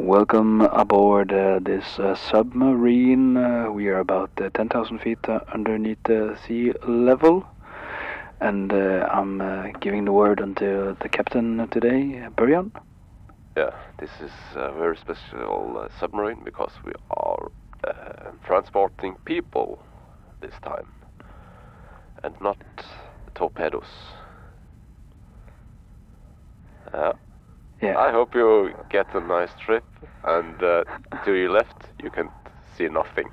Welcome aboard uh, this uh, submarine. Uh, we are about uh, 10,000 feet uh, underneath the sea level. And uh, I'm uh, giving the word unto the captain today, Burjan. Yeah, this is a very special uh, submarine because we are uh, transporting people this time and not torpedoes. Uh, Yeah. I hope you get a nice trip and uh, to your left you can see nothing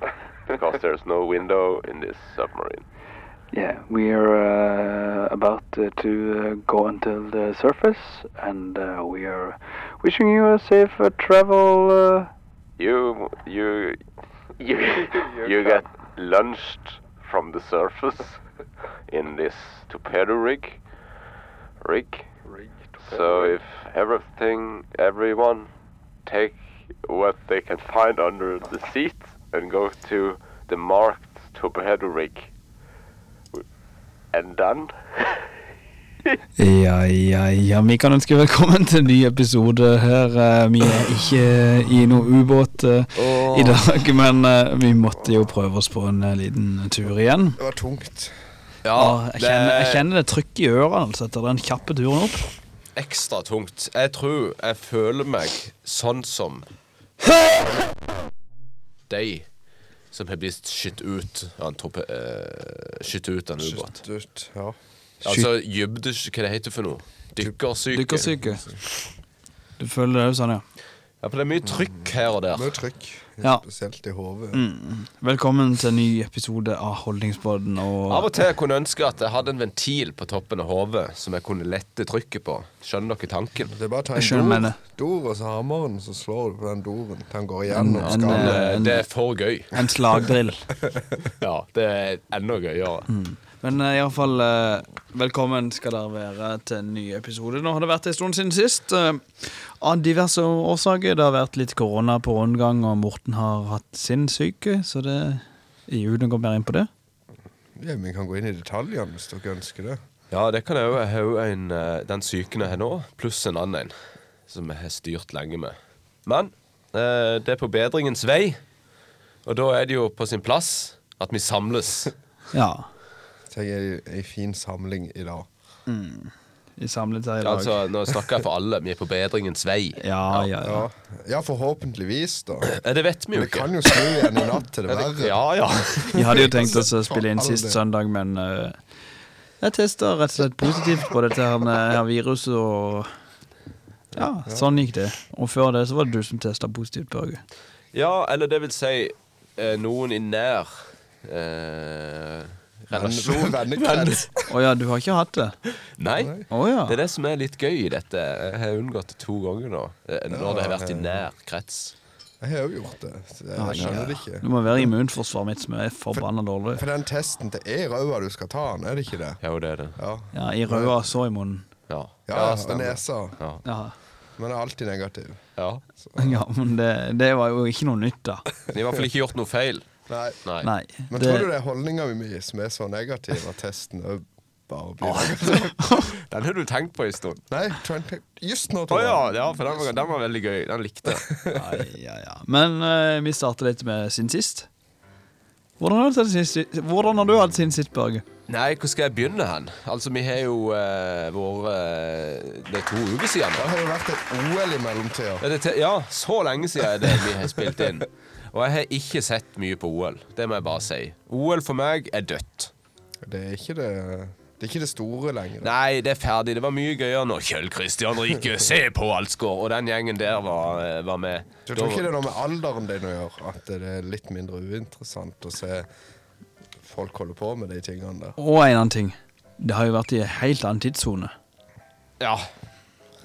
because there's no window in this submarine. Yeah, we are uh, about uh, to uh, go until the surface, and uh, we are wishing you a safe uh, travel. Uh, You you you You you can. get launched from the surface in this torpedo rig rig Rigged. So if everything, everyone, take what they can find under the seat and go to the marked torpedo rig, and done. Ja, ja, ja. Vi kan ønske velkommen til en ny episode her. Eh, Vi er ikke eh, i noe ubåt eh, i dag, men eh, vi måtte jo prøve oss på en eh, liten tur igjen. Det var tungt. Ah, jeg, kjenner, jeg det kjenner det trykk i ørene altså, etter den kjappe turen opp. er ekstra tungt. Jeg tror jeg føler meg sånn som de som har blitt skutt ut av en toppe... eh, skutt ut av en ubåt. Skytt ut. Ja. Altså dybde... Hva det heter for noe? Dykkersyke. Dykkersyke. Du føler det òg sånn, ja. Ja, for det er mye trykk her og der. Mye trykk, Ja. Mm. spesielt i hodet. Velkommen til en ny episode av Holdningsbåten. Av Og og til jeg kunne ønske at jeg hadde en ventil på toppen av hodet som jeg kunne lette trykket på. Skjønner dere tanken? Det er bare å ta Jeg skjønner en mener. dor, dor og så hammeren, så slår du på den doren til han går en, igjennom en, skallet. eh, en, Det er for gøy. en slagdrill. Ja, det er enda gøyere. Men eh, i alle fall eh, velkommen skal dere være til en ny episode. Nå har det vært en stund siden sist. eh, av diverse årsaker. Det har vært litt korona på rundgang, og Morten har hatt sin syke, så det Uten å gå mer inn på det. Ja, vi kan gå inn i detaljene hvis dere ønsker det. Ja, det kan jeg òg. Jeg har jo en, eh, den syken jeg har nå, pluss en annen en som jeg har styrt lenge med. Men eh, det er på bedringens vei, og da er det jo på sin plass at vi samles. Ja. Tenk ei, ei fin samling i dag. Vi samlet her i dag. Altså, Nå snakker jeg for alle. Vi er på bedringens vei. ja, ja, ja. Ja, ja forhåpentligvis, da. Eh, Det vet vi jo Men det ikke. kan jo snu igjen i natt til det Ja, det- verre. Ja, ja. Vi hadde jo tenkt oss å For spille inn all sist del. søndag, men eh, jeg tester rett og slett positivt på dette her, med- her viruset og Ja, sånn gikk det. Og før det så var det du som testa positivt, Børge. Ja, eller det vil si eh, noen i nær eh, relasjon. Vennekrets. Å ja, du har ikke hatt det? Nei. Å ja. Det er det som er litt gøy i dette. Jeg har unngått det to ganger nå. eh, Når det har vært i nær krets. Jeg har jo gjort det. så Jeg skjønner det ikke. Det må være immunforsvaret mitt som er forbanna dårlig. For den testen til er røda du skal ta den, er det ikke det? Jo, det er det. Ja. Ja, I røda så i munnen. Ja. Ja, og nesa. Ja, Men er alltid negativ. Ja. ja men det, det var jo ikke noe nytt, da. Men I hvert fall ikke gjort noe feil. Nei. Nei. Nei. Men Det, tror du det er holdninga mi som er så negativ at testen er bare blir negativ? Den har du tenkt på en stund. Nei, Trent, just nå, Å tror ja, jeg. ja, for den var, den var veldig gøy. Den likte jeg. ja, ja, ja. Men eh, vi starter litt med siden sist. Hvordan har du hatt siden sist, Hvordan har du hatt siden sist, Børge? Nei, hvor skal jeg begynne hen? Altså, vi har jo eh, vært eh, Det er to uker siden Det nå. har jo vært et OL i mellomtida. Ja, det er te- ja, så lenge siden er det vi har spilt inn. Og jeg har ikke sett mye på OL. Det må jeg bare si. OL for meg er dødt. Det er ikke det, det, er ikke det store lenger. Nei, det er ferdig. Det var mye gøyere når Kjell Kristian Rike, se på Alsgaard, og den gjengen der var, eh, var med. Du tror ikke det er noe med alderen din å gjøre at det er litt mindre uinteressant å se folk holde på med de tingene der? Og en annen ting. Det har jo vært i en helt annen tidssone. Ja,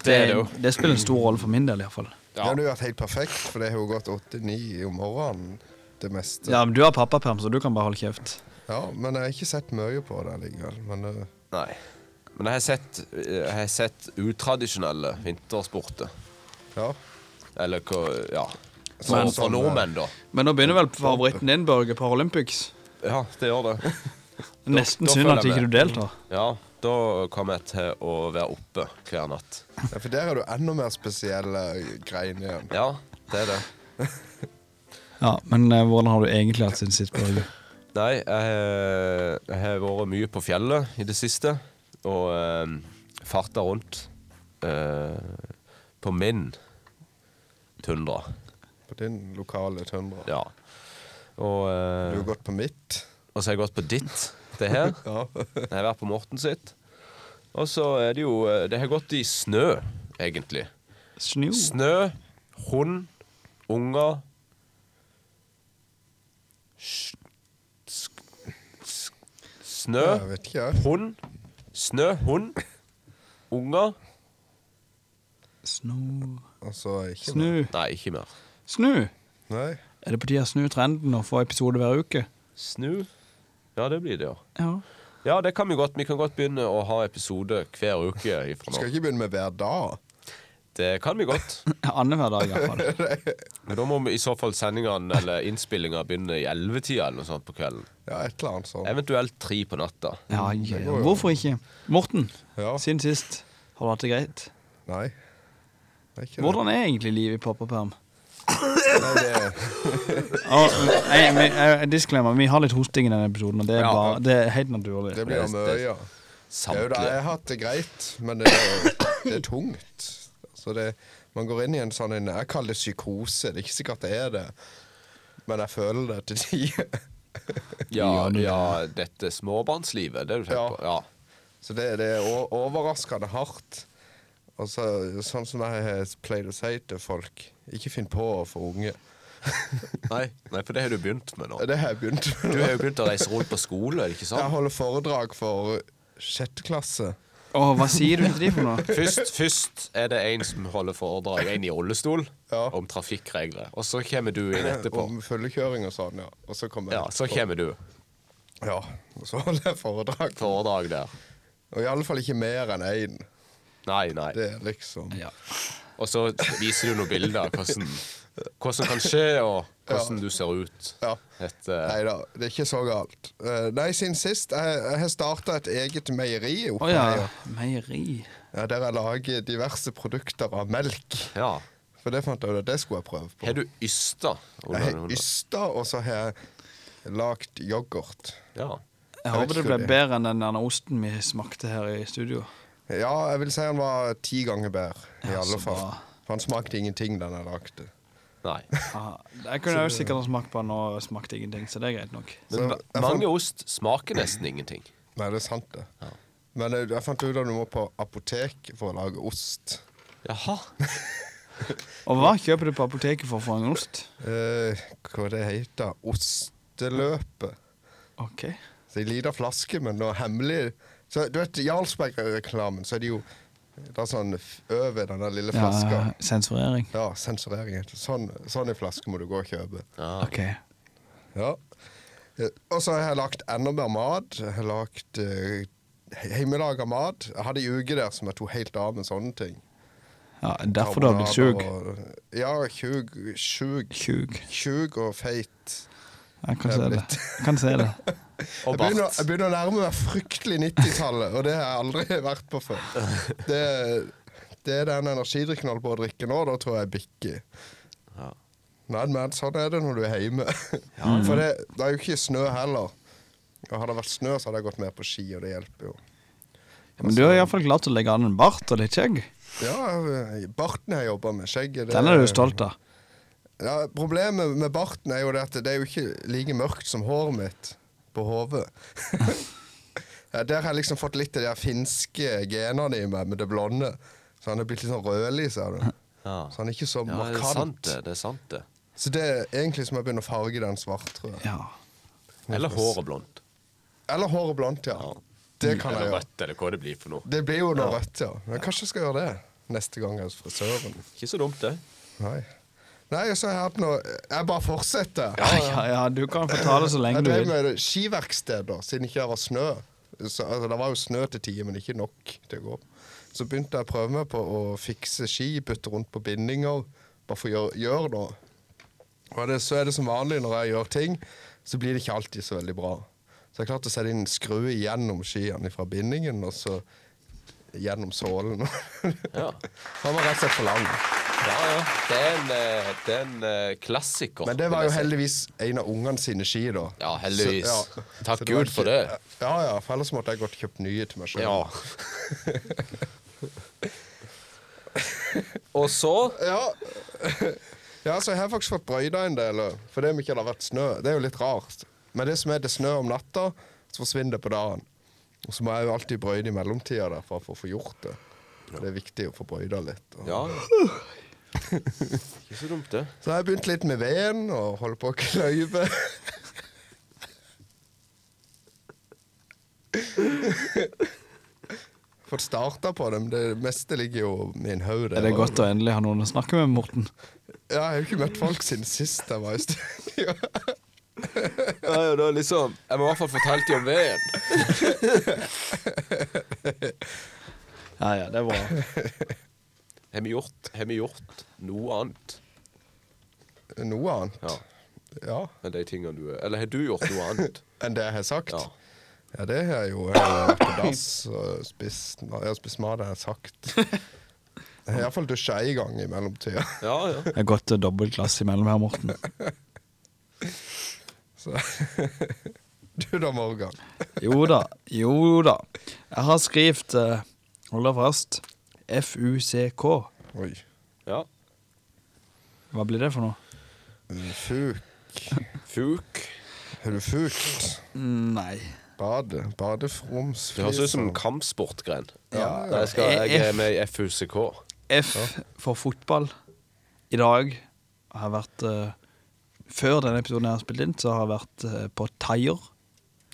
det er det jo. det spiller en stor rolle for min del, iallfall. Det hadde jo vært helt perfekt, for det har jo gått 8-9 om morgenen det meste. Ja, men du har pappaperm, så du kan bare holde kjeft. Ja, men jeg har ikke sett mye på det likevel. Men eh, Nei. Men jeg har sett, eh, jeg har sett utradisjonelle vintersporter. ja. Eller hva Ja. For, Sånn for som, nordmenn, da. Men nå begynner vel favoritten din, Børge, på Olympics. Ja, det gjør det. Nesten da synd følger at jeg ikke du med. deltar. Ja, da kommer jeg til å være oppe hver natt. Ja, For der er du enda mer spesielle greiene igjen. Ja. Det er det. Ja, Men eh, hvordan har du egentlig hatt siden sist? Børge? Nei, jeg, har- jeg har vært mye på fjellet i det siste. Og eh, farta rundt eh, på min tundra. På din lokale tøndra. Ja. Og, Du eh, har gått på mitt. og så har jeg gått på ditt, det her. Ja. Jeg har vært på Morten sitt. Og så er det jo eh, Det har gått i snø, egentlig. Snø. Snø, hund, unger s- sk- sk- Snø, Jeg vet ikke, jeg. hund, snø, hund, unger Snø. Altså, ikke Snø. Nei, ikke mer. Snø. Nei. Er det på tide å snu trenden og få episode hver uke? Snu. Ja, det blir det, ja. Ja. Ja, det kan vi godt. Vi kan godt begynne å ha episode hver uke ifra Du skal nå. ikke begynne med hver dag. Det kan vi godt. Annenhver dag, iallfall. Men da må vi i så fall sendingene eller innspillinga begynne i ellevetida eller noe sånt på kvelden. Ja, et eller annet sånt. Eventuelt tre på natta. Ja, ja. Hvorfor ikke? Morten, Ja. siden sist, har du hatt det greit? Nei. Det er ikke det. Hvordan er egentlig livet i pappaperm? Nei, det er Ah, nei, men, eh, Disclaimer, vi har litt hosting i denne episoden, og det er, Ja. bare, det er helt naturlig. Det blir Det- mye, det- ja. Jo da, jeg Samtlige. har hatt det greit, men det er, det er tungt. Så det, man går inn i en sånn en, Jeg kaller det psykose. Det er ikke sikkert det er det, men jeg føler det til tider. Ja, ja, dette småbarnslivet, det du tenker på. Ja. Så det, det er o- overraskende hardt. Og så, sånn som jeg har pleid å si til folk Ikke finn på å få unge. Nei, nei, for det har du begynt med nå. Det har jeg begynt Du med. har jo begynt å reise rundt på skole, er det ikke Jeg sant? holder foredrag for sjette klasse. Åh, hva sier du til de for noe? Først, først er det en som holder foredrag, en i rullestol, Ja. om trafikkregler. Og så kommer du inn etterpå. Om fullekjøring og sånn, ja. Og så kommer Ja, så kommer du. Ja, og så holder jeg foredrag. Foredrag der. Og iallfall ikke mer enn én. Nei, nei. Det er liksom Ja. Og så viser du noen bilder av hvordan, hva som kan skje, og hvordan du ser ut. Ja. Et, eh, Nei da, det er ikke så galt. Eh, nei, siden sist jeg, jeg har starta et eget meieri oppe Å ja, her. meieri. Ja, der jeg lager diverse produkter av melk. ja. For det fant jeg ut at det skulle jeg prøve på. Har du ysta? Jeg har under- ysta, og så har jeg lagd yoghurt. Ja. vet Jeg håper det ikke ble hva det bedre enn den der osten vi smakte her i studio. Ja, jeg vil si han var ti ganger bedre, i Ja, så alle fall. bra. For han smakte ingenting, den jeg lagde. Nei. Ja, Ah, jeg kunne jo sikkert ha smakt på den og smakt ingenting, så det er greit nok. Så Men jeg ma- mange ost smaker nesten ingenting. Nei, det er sant, det. Men eh, jeg, jeg fant ut at du må på apotek for å lage ost. Jaha. Og hva kjøper du på apoteket for å få en ost? Eh, hva det heter Osteløpet. Ok. Så en liten flaske med noe hemmelig så, Du vet Jarlsberg-reklamen, så er det jo Det er sånn f- over den der lille Ja, flaska. Ja, sensurering. sensurering. heter det. Sånn, sånn en flaske må du gå og kjøpe. Ja. Ok. Ja. Eh, Og så har jeg lagt enda mer mat. Jeg har lagt uh, hjemmelaga mat. Jeg hadde ei uke der som jeg tok helt av med sånne ting. Ja, derfor du har blitt sjuk. Karbonader og- Ja, tjug. Tjug. Tjug. Tjug og feit. Jeg kan se det. Jeg kan se det. Og Jeg begynner, bart. jeg begynner å nærme meg fryktelig 90-tallet, og det har jeg aldri vært på før. Det, det er den energidrikken jeg holder på å drikke nå, da tror jeg jeg bikker. Ja. Nei, men sånn er det når du er hjemme. For det, det er jo ikke snø heller. Og hadde det vært snø, så hadde jeg gått mer på ski, og det hjelper jo. Men du har iallfall klart å legge an en bart og litt skjegg. Ja, barten jeg jobba med, skjegget det- Den er du stolt av. Ja, Problemet med barten er jo det at det er jo ikke like mørkt som håret mitt på hodet. Ja, Der har jeg liksom fått litt av de her finske genene i meg med det blonde. Så han er blitt litt sånn rødlig, ser du. Ja. Så han er ikke så Ja, det er sant, markant. det. det er sant det Så det er egentlig som å begynne å farge den svart, tror jeg. Ja. Eller håret blondt. Eller håret blondt, ja. Ja. Det kan jeg Eller gjøre. rødt, eller hva det blir for noe. Det blir jo noe rødt, ja. Men kanskje jeg skal gjøre det neste gang jeg er hos frisøren. Ikke så dumt, det. Nei. Nei, så har jeg hatt noe Jeg bare fortsetter. Ja, ja, ja, du kan fortale så lenge Jeg du drev vil. med skiverksted da, siden ikke det var snø. Så, altså, det var jo snø til tider, men ikke nok til å gå. Så begynte jeg å prøve meg på å fikse ski, bytte rundt på bindinger. Bare for å gjøre, gjøre noe. Og det, så er det som vanlig når jeg gjør ting, så blir det ikke alltid så veldig bra. Så jeg klarte å sette inn en skrue gjennom skiene fra bindingen, og så gjennom sålen. Ja. Han var rett og slett for lang. Ja, ja. Det er en, eh, det er en eh, klassiker. Men det vil var jeg jo si. heldigvis en av ungene sine ski, da. Ja, heldigvis. Så- ja. Takk Så var Gud for det. Ja, ja, for ellers måtte jeg godt kjøpt nye til meg sjøl. Ja. Og så Ja. ja, så jeg har faktisk fått brøyda en del, for det om ikke det har vært snø. Det er jo litt rart. Men det som er det snø om natta, så forsvinner det på dagen. Og så må jeg jo alltid brøyde i mellomtida der for å få- få gjort det. For Det er viktig å få brøyda litt. Og- Ja. Ikke så dumt, det. Så har jeg begynt litt med veden og holder på å kløyve. Fått starta på det, men det meste ligger jo i en haug der. Er det godt å endelig ha noen å snakke med, Morten? Ja, jeg har jo ikke møtt folk siden sist jeg var i studio. Ja, ja, da liksom Jeg må i hvert fall fortelle dem om veden. Ja, ja, det er bra. Har vi gjort, har vi gjort noe annet Noe annet. Ja. Ja, enn de tingene du er Eller har du gjort noe annet? enn det jeg har sagt? Ja. Ja, det har jeg jo. Jeg har vært på dass og spist, jeg har spist mat jeg har sagt. Jeg har iallfall dusja én gang i mellomtida. Ja, ja. Det er godt eh, dobbeltglass imellom her, Morten. Så. Du da, Morgan. Jo da, jo da. Jeg har skrevet eh, Hold deg fast. FUCK. Oi. ja. Hva blir det for noe? Fuk. Fuk. Har du fukt? Nei. Bade. Badefroms. Det høres ut som en kampsportgren. Ja, Nei, Jeg, skal, jeg er med i FUCK. F for fotball. I dag har jeg vært eh, Før denne episoden jeg har spilt inn, så har jeg vært eh, på Taier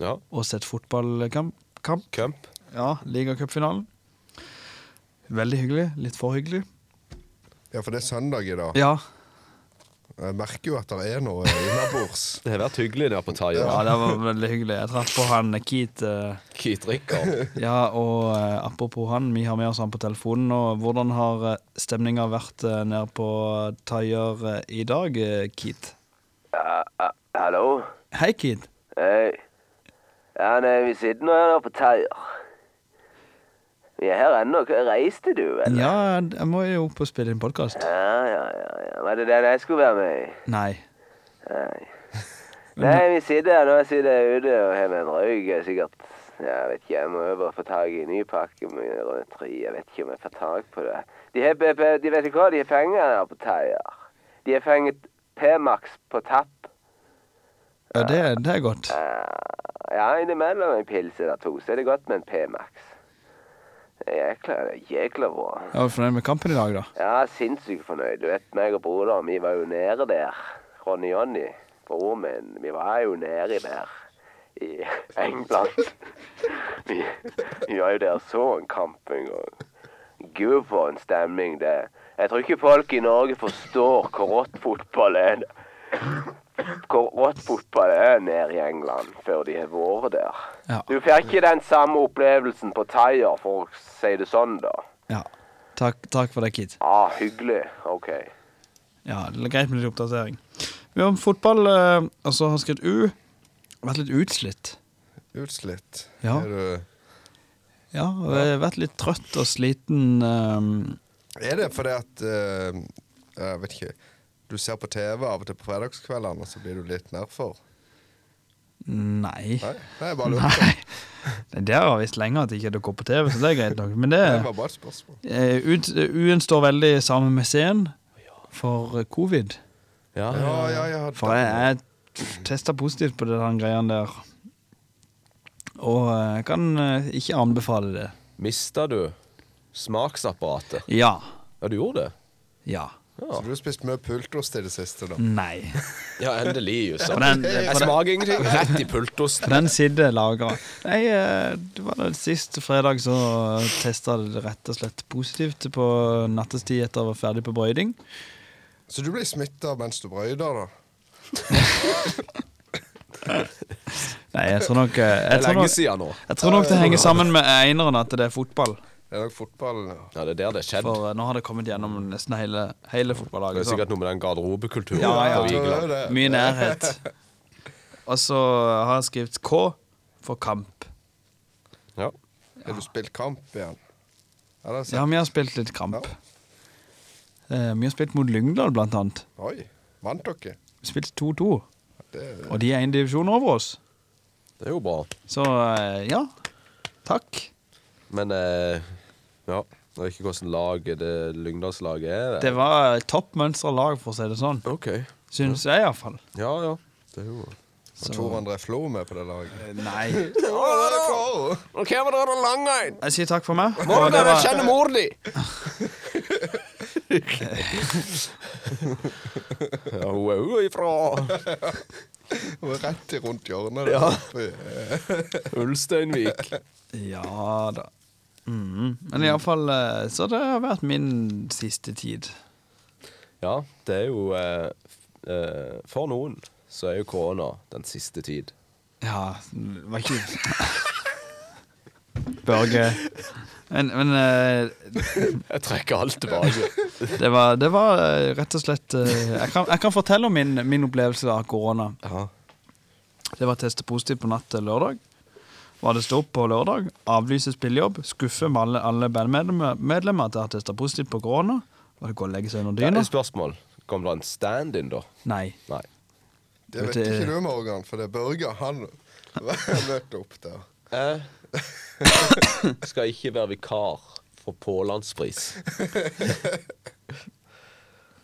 Ja. og sett fotballkamp. Kamp. Camp. Ja, ligacupfinalen. Veldig hyggelig. Litt for hyggelig. Ja, for det er søndag i dag. Ja, Jeg merker jo at det er noe innabords. Det har vært hyggelig der på Taia. ja det var veldig hyggelig. Jeg traff på han Keith. eh, Keith Rikard. Ja, og eh, apropos han, vi har med oss han på telefonen. Og hvordan har eh, stemninga vært eh, nede på Taier eh, i dag, eh, Keith? Hallo? Hei, Keith. Hei. Ja, nei, vi sitter nå her på Teier. Vi er her ennå. Hva- Reiste du, eller? Ja, jeg må jo opp og spille inn podkast. Ja, ja, ja, ja. Var det den jeg skulle være med i? Nei. Nei. Nei, vi sitter her nå. Jeg sitter ute og har meg en røyk. Jeg er sikkert Jeg vet ikke, jeg må over og få tak i en ny pakke med rød tre. Jeg vet ikke om jeg får tak på det. De har be- be- De vet ikke hva de har fengt her på Teier. De har fengt P-Max på tapp. Ja, det, det er godt. Ja, innimellom en pils eller to, så er det godt med en P-Max. Jækla, det er jækla bra. Jeg var fornøyd med kampen i dag, da. Ja, sinnssykt fornøyd. Du vet, meg og broderen, vi var jo nede der. Ronny Jonny, broren min, vi var jo nede der i England. Vi, vi var jo der og så en kamp en gang. Gud, for en stemning det. Jeg tror ikke folk i Norge forstår hvor rått fotball er. Hvor rått fotball er nede i England før de har vært der. Ja. Du får ikke den samme opplevelsen på Taier, for å si det sånn, da. Ja. Takk, takk for det, Keith. Ah, hyggelig. OK. Ja, det er greit med litt oppdatering. Vi har om fotball, eh, og så har jeg skrevet U. Vært litt utslitt. Utslitt. Ja. Er, du, Ja, og jeg har vært litt trøtt og sliten. eh, er det fordi at eh, Jeg vet ikke. Du ser på TV av og til på fredagskveldene, og så blir du litt nedfor? Nei. Nei, Nei jeg bare lurer. Nei. Nei, Det har jeg visst lenge at ikke det går på TV, så det er greit nok. Men det Det var bare et spørsmål. eh, ut- U-en står veldig sammen med C-en for eh, covid. Ja, Ja, ja, ja. For jeg, jeg testa positivt på den greia der. Og eh, jeg kan eh, ikke anbefale det. Mista du smaksapparatet? Ja. Ja, du gjorde det? Ja. Så du har spist mye pultost i det siste, da? Nei. Ja, endelig. jo, sant. For den, Jeg for den, smaker ingenting. Rett i pultosten. for den sitter lagra. Nei, eh, det var den siste fredag så testa det rett og slett positivt på nattestid etter å være ferdig på brøyding. Så du blir smitta mens du brøyder, da? Nei, jeg tror nok eh, Det jeg er tror lenge nok, siden nå. jeg tror nok det henger sammen med eineren at det er fotball. Det er nok fotballen. ja. Ja, det er der det skjedde. For eh, nå har det kommet gjennom nesten hele, hele Det er fotballaget. sikkert noe med den garderobekulturen. Ja, ja. på Jeg tror Vigeland. det er så det. Mye nærhet. Og så har jeg skrevet K for kamp. Ja. Har du spilt kamp igjen? Ja, det er sant. Ja, vi har spilt litt kamp. Eh, vi har spilt mot Lyngdal, blant annet. Oi, vant dere? Vi spilte 2-2. Det- Og de er en divisjon over oss. Det er jo bra. Så eh, ja. Takk. Men eh, ja Jeg vet ikke hvordan laget det Lyngdalslaget er. Det var toppmønstra lag, for å si det sånn. OK. Syns jeg, iallfall. Ja, ja. Det er jo Var Tor André Flo med på det laget? Nei. Og hva var det da langveien? Jeg sier takk for meg. Må Og det dere var, kjenne mor di? Ja, hun er jo ifra Det var Rett i rundt hjørnet. eh, Ja. Ulsteinvik. ja da. Mm. Men iallfall eh, Så det har vært min siste tid. Ja, det er jo eh, f- eh, For noen så er jo korona den siste tid. Ja, det var ikke Børge. Men, men eh, Jeg trekker alt tilbake. det, var, det var eh, rett og slett eh, Jeg kan, jeg kan fortelle om min, min opplevelse av korona. Ja. Det var testet positivt på natt til lørdag. Var det stopp på lørdag? Avlyse spillejobb? Skuffe med alle, alle bandmedlemmer medlemmer at jeg har testet positivt på korona? Var det gå og legge seg under Det er dyna? et spørsmål. Kom det en stand-in, da? Nei. Nei. Det vet Vet du- ikke du, Morgan, for det er Børge. Han møtte opp der. Eh, skal ikke være vikar for Pålandspris.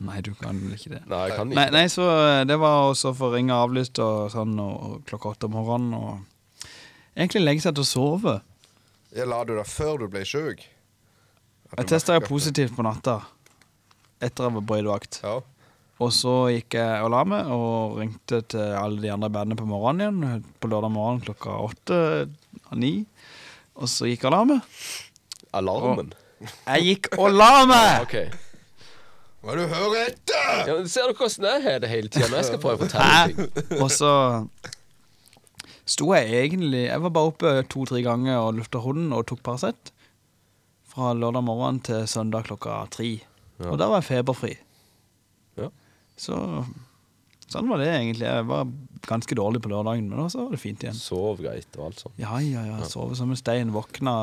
Nei, du kan vel ikke det. Nei, jeg kan Nei, ikke. nei, så eh, det var også for ringe avlyst og sånn og, og klokka åtte om morgenen og Egentlig legge seg til å sove. Jeg la du deg før du ble sjuk? Jeg testa jo positivt på natta etter jeg var brøydvakt. Ja. Og så gikk jeg og la meg og ringte til alle de andre bandene på morgenen igjen. På lørdag morgen klokka åtte-ni. Og så gikk jeg og la meg. Alarmen. Jeg gikk og la meg! OK. Må du høre etter! Ja, men ser dere hvordan jeg har det hele tida når jeg skal prøve å fortelle ting? Hæ? Og så sto jeg egentlig Jeg var bare oppe to-tre ganger og lufta hunden og tok Paracet. Fra lørdag morgen til søndag klokka tre. Og da var jeg feberfri. Ja. Så sånn var det egentlig. Jeg var ganske dårlig på lørdagen, men så var det fint igjen. Sov greit og alt sånt. Ja, ja, ja. Sove som en stein. Våkna,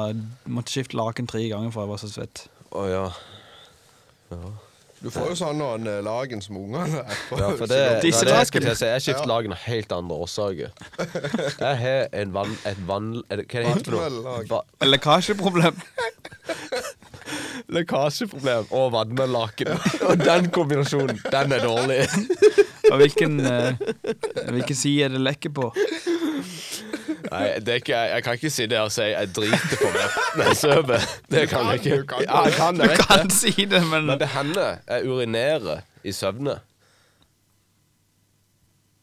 måtte skifte laken tre ganger for jeg var så svett. Å ja. Du får jo sånn noen eh, lagen som ungene er på. ja. For det, ja, det Disse jeg skal til taskene. å si. Jeg skifter lag av helt andre årsaker. Jeg har en vann... Et vann... er det- Hva heter det for noe? Vannmellag. Va Lekkasjeproblem. Lekkasjeproblem og vannmelaken. Og den kombinasjonen, den er dårlig. Og hvilken, eh, hvilken side er det lekker på? Nei, det er ikke, jeg kan ikke si det og si jeg driter på meg når jeg sover. Det kan jeg Du kan ikke. det. Ja, jeg kan Du det, vet kan si det, men Men det hender jeg urinerer i søvne.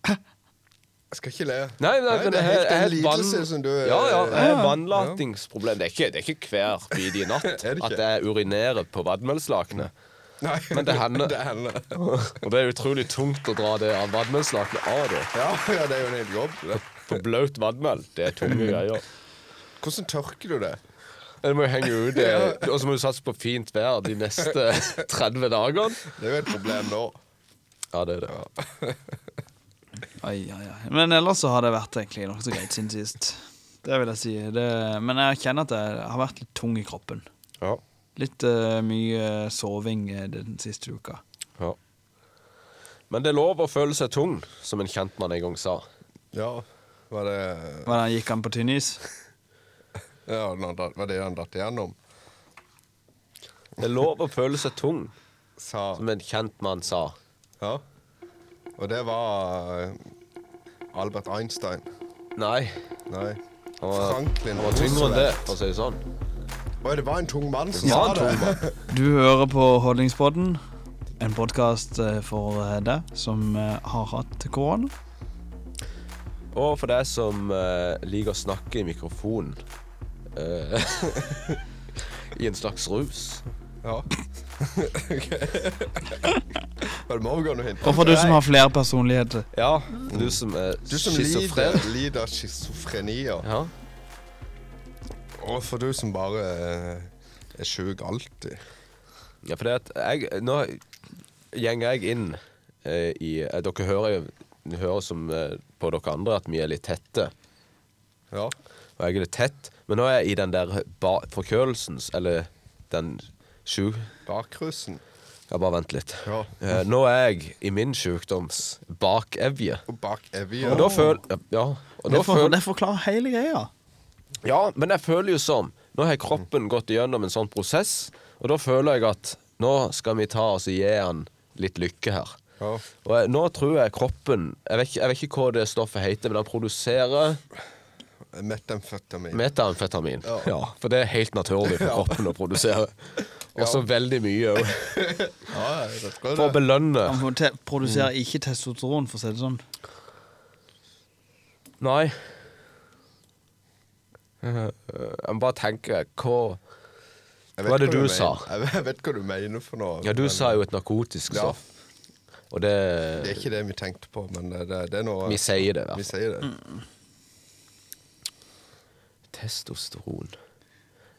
Jeg skal ikke le. Nei, nei, men det er helt en jeg- jeg- lidelse vann- som du eh, Ja, ja, jeg har vannlatingsproblem. Det er ikke, det er ikke hver bit i natt Er det ikke? at jeg urinerer på vannmølslakenet. Nei, Men det hender. det hender. Og det er utrolig tungt å dra det av vannmølslakenet av, da. Ja, ja, det er jo en hel jobb. det. For blaut vannmøll, det er tunge greier. Hvordan tørker du det? Du må jo henge ut det, og så må du satse på fint vær de neste 30 dagene. Det er jo et problem nå. Ja, det er det. Ai, ai, ai. Men ellers så har det vært egentlig nokså greit siden sist. Det vil jeg si. Det, men jeg kjenner at jeg har vært litt tung i kroppen. Ja, Litt eh, mye soving eh, den siste uka. ja. Men det er lov å føle seg tung, som en kjentmann en gang sa. Ja, var det Hva da, gikk han på tynn is? ja, når han datt- Var det han datt igjennom? Det er lov å føle seg tung, Sa som en kjentmann sa. Ja. Og det var eh, Albert Einstein. Nei. Nei. Han var, Franklin han var tyngre enn det, for å si det sånn. Oi, det var en tung mann som Ja, sa han det. tung, mann. Du hører på Holdningspodden, en podkast for eh, deg som eh, har hatt korona. Og for deg som eh, liker å snakke i mikrofonen eh, I en slags rus. Ja. Ok. Var det Morgan du hintet? Og for du som har flere personligheter. Ja, du som er Du som schizofren. lider, lider av schizofrenier, Ja. og for du som bare eh, er sjuk alltid. ja, for det at jeg Nå gjenger jeg inn eh, i eh, Dere hører jo det høres som eh, på dere andre at vi er litt tette. Ja. Og jeg er litt tett. Men nå er jeg i den der ba- forkjølelsens Eller den sju Bakrusen. Ja, bare vent litt. Ja. Eh, nå er jeg i min sjukdoms bakevje. Og bak Evje. Og da føl... Ja, ja. Og da Det, for, føl... det forklarer hele greia. Ja, men jeg føler jo som Nå har kroppen gått igjennom en sånn prosess, og da føler jeg at nå skal vi ta oss og gi han litt lykke her. Ja. Og jeg, nå tror jeg kroppen jeg vet, ikke, jeg vet ikke hva det stoffet heter, men han produserer Metamfetamin. metamfetamin. Ja. Ja. for det er helt naturlig for kroppen å produsere. Også veldig mye òg. ja, jeg tror For å det. belønne. Han får te- Mm. produserer ikke testosteron, for å si det sånn. Nei. Eh, Jeg må bare tenker hva Jeg Hva vet var det du mener. sa? Jeg, jeg vet hva du mener for noe. Ja, du men sa jo et narkotisk Ja. stoff. Og det, Det er ikke det vi tenkte på, men det, det, det er noe Vi sier det, i hvert Vi fall. sier det. Testosteron.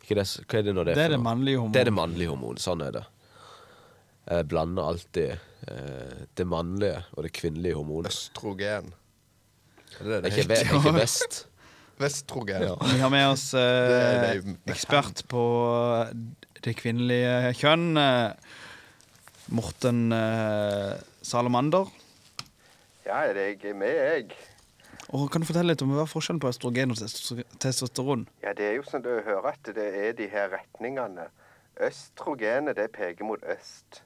Ikke det, s- hva er det når det Det er for det noe? mannlige hormonet. Det er det mannlige hormonet. Sånn er det. Jeg blander alltid eh, det mannlige og det kvinnelige hormonet. Østrogen. Er det Det det er det ikke, ve- heter? det er ikke vest. Vestrogen. Ja. Vi har med oss eh, Det er det- ekspert på eh, det kvinnelige kjønn. Eh, Morten eh, Salamander. Ja, jeg er med, jeg. Og kan du fortelle litt om hva er forskjellen på østrogen og testo- testosteron? Ja, det er jo som du hører at det er de her retningene. Østrogenet, det peker mot øst.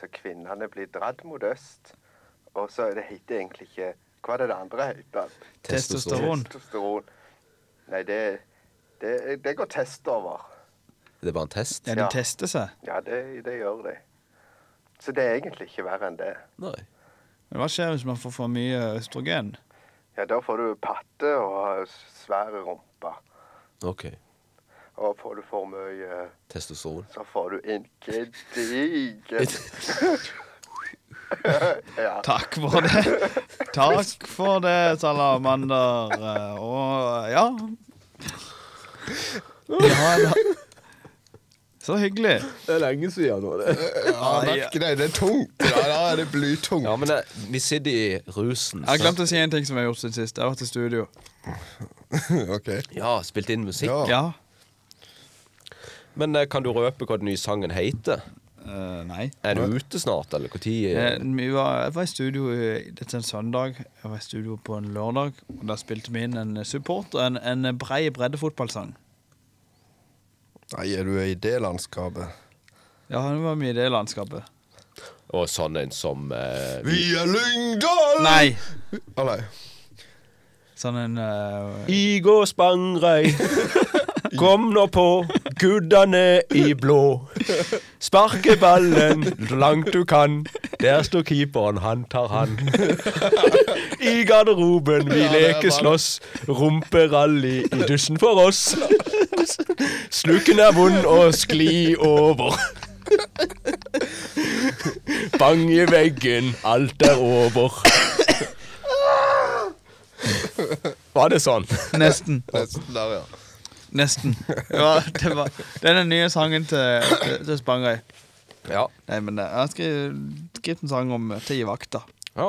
Så kvinnene blir dratt mot øst. Og så det heter egentlig ikke Hva er det det andre heter? Testosteron. Testosteron. Nei, det, det, det går test over. Det er bare en test? Ja, de Ja. tester seg. Ja, det, det gjør det. Så det er egentlig ikke verre enn det. Nei. Men hva skjer hvis man får for mye østrogen? Ja, da får du patte og svære rumpe. OK. Og får du for mye, Testosteron. så får du en gedigen Takk for det. Takk for det, Salamander. Eh, Og ja. ja da. Så hyggelig. Det er lenge siden nå, det. Ja, merk det. Det er tungt. Ja, da er det blytungt. Ja, men det, vi sitter i rusen. Jeg har sant? glemt å si en ting som jeg har gjort siden sist. Jeg har vært i studio. Ok. Ja, spilt inn musikk. Ja. Ja. Men eh, kan du røpe hva den nye sangen heter? Eh, nei. Er den ute snart, eller når? Eh, Uh, vi var, jeg var i studio i- dette er en søndag. Jeg var i studio på en lørdag. Og Da spilte vi inn en support og en, en brei breddefotballsang. Nei, er du i det landskapet? Ja, det var mye i det landskapet. og sånn en som eh, Vi er Lyngdal! Nei! Å nei. Sånn en eh, I går sprang rei, kom nå på, guddane i blå. Sparke ballen langt du kan, der står keeperen, han tar han. I garderoben vi leker slåss, rumperally i dusjen for oss. Sluken er vond og skli over. Bang i veggen, alt er over. Var det sånn? Nesten. Nesten der, ja. Nesten. Det, var, det, var, det er den nye sangen til, til, til Spangeir. Ja. Nei, men eh, jeg har skrevet skrevet en sang om eh, til i vakta. Ja.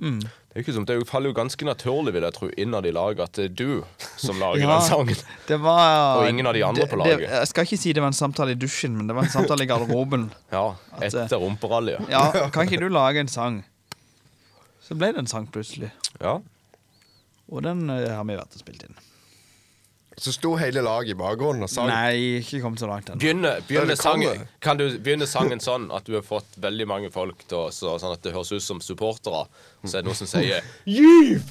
Det, er jo ikke som, det er jo- faller jo ganske naturlig vil jeg tro, innad i laget at det er du som lager Ja. den sangen. Det var Og ingen av de andre på laget. Det, jeg skal ikke si det var en samtale i dusjen, men det var en samtale i garderoben. Ja, At, eh, Etter rumperallyet. Ja, Kan ikke du lage en sang? Så ble det en sang plutselig. Ja. Og den eh, har vi vært og spilt inn. Så sto hele laget i bakgrunnen og sang. Nei, ikke kommet så langt ennå. Begynne, Ja, begynne det kommer. sangen, kan du begynne sangen sånn at du har fått veldig mange folk til å så, Sånn at det høres ut som supportere. Så er det noen som sier Giv!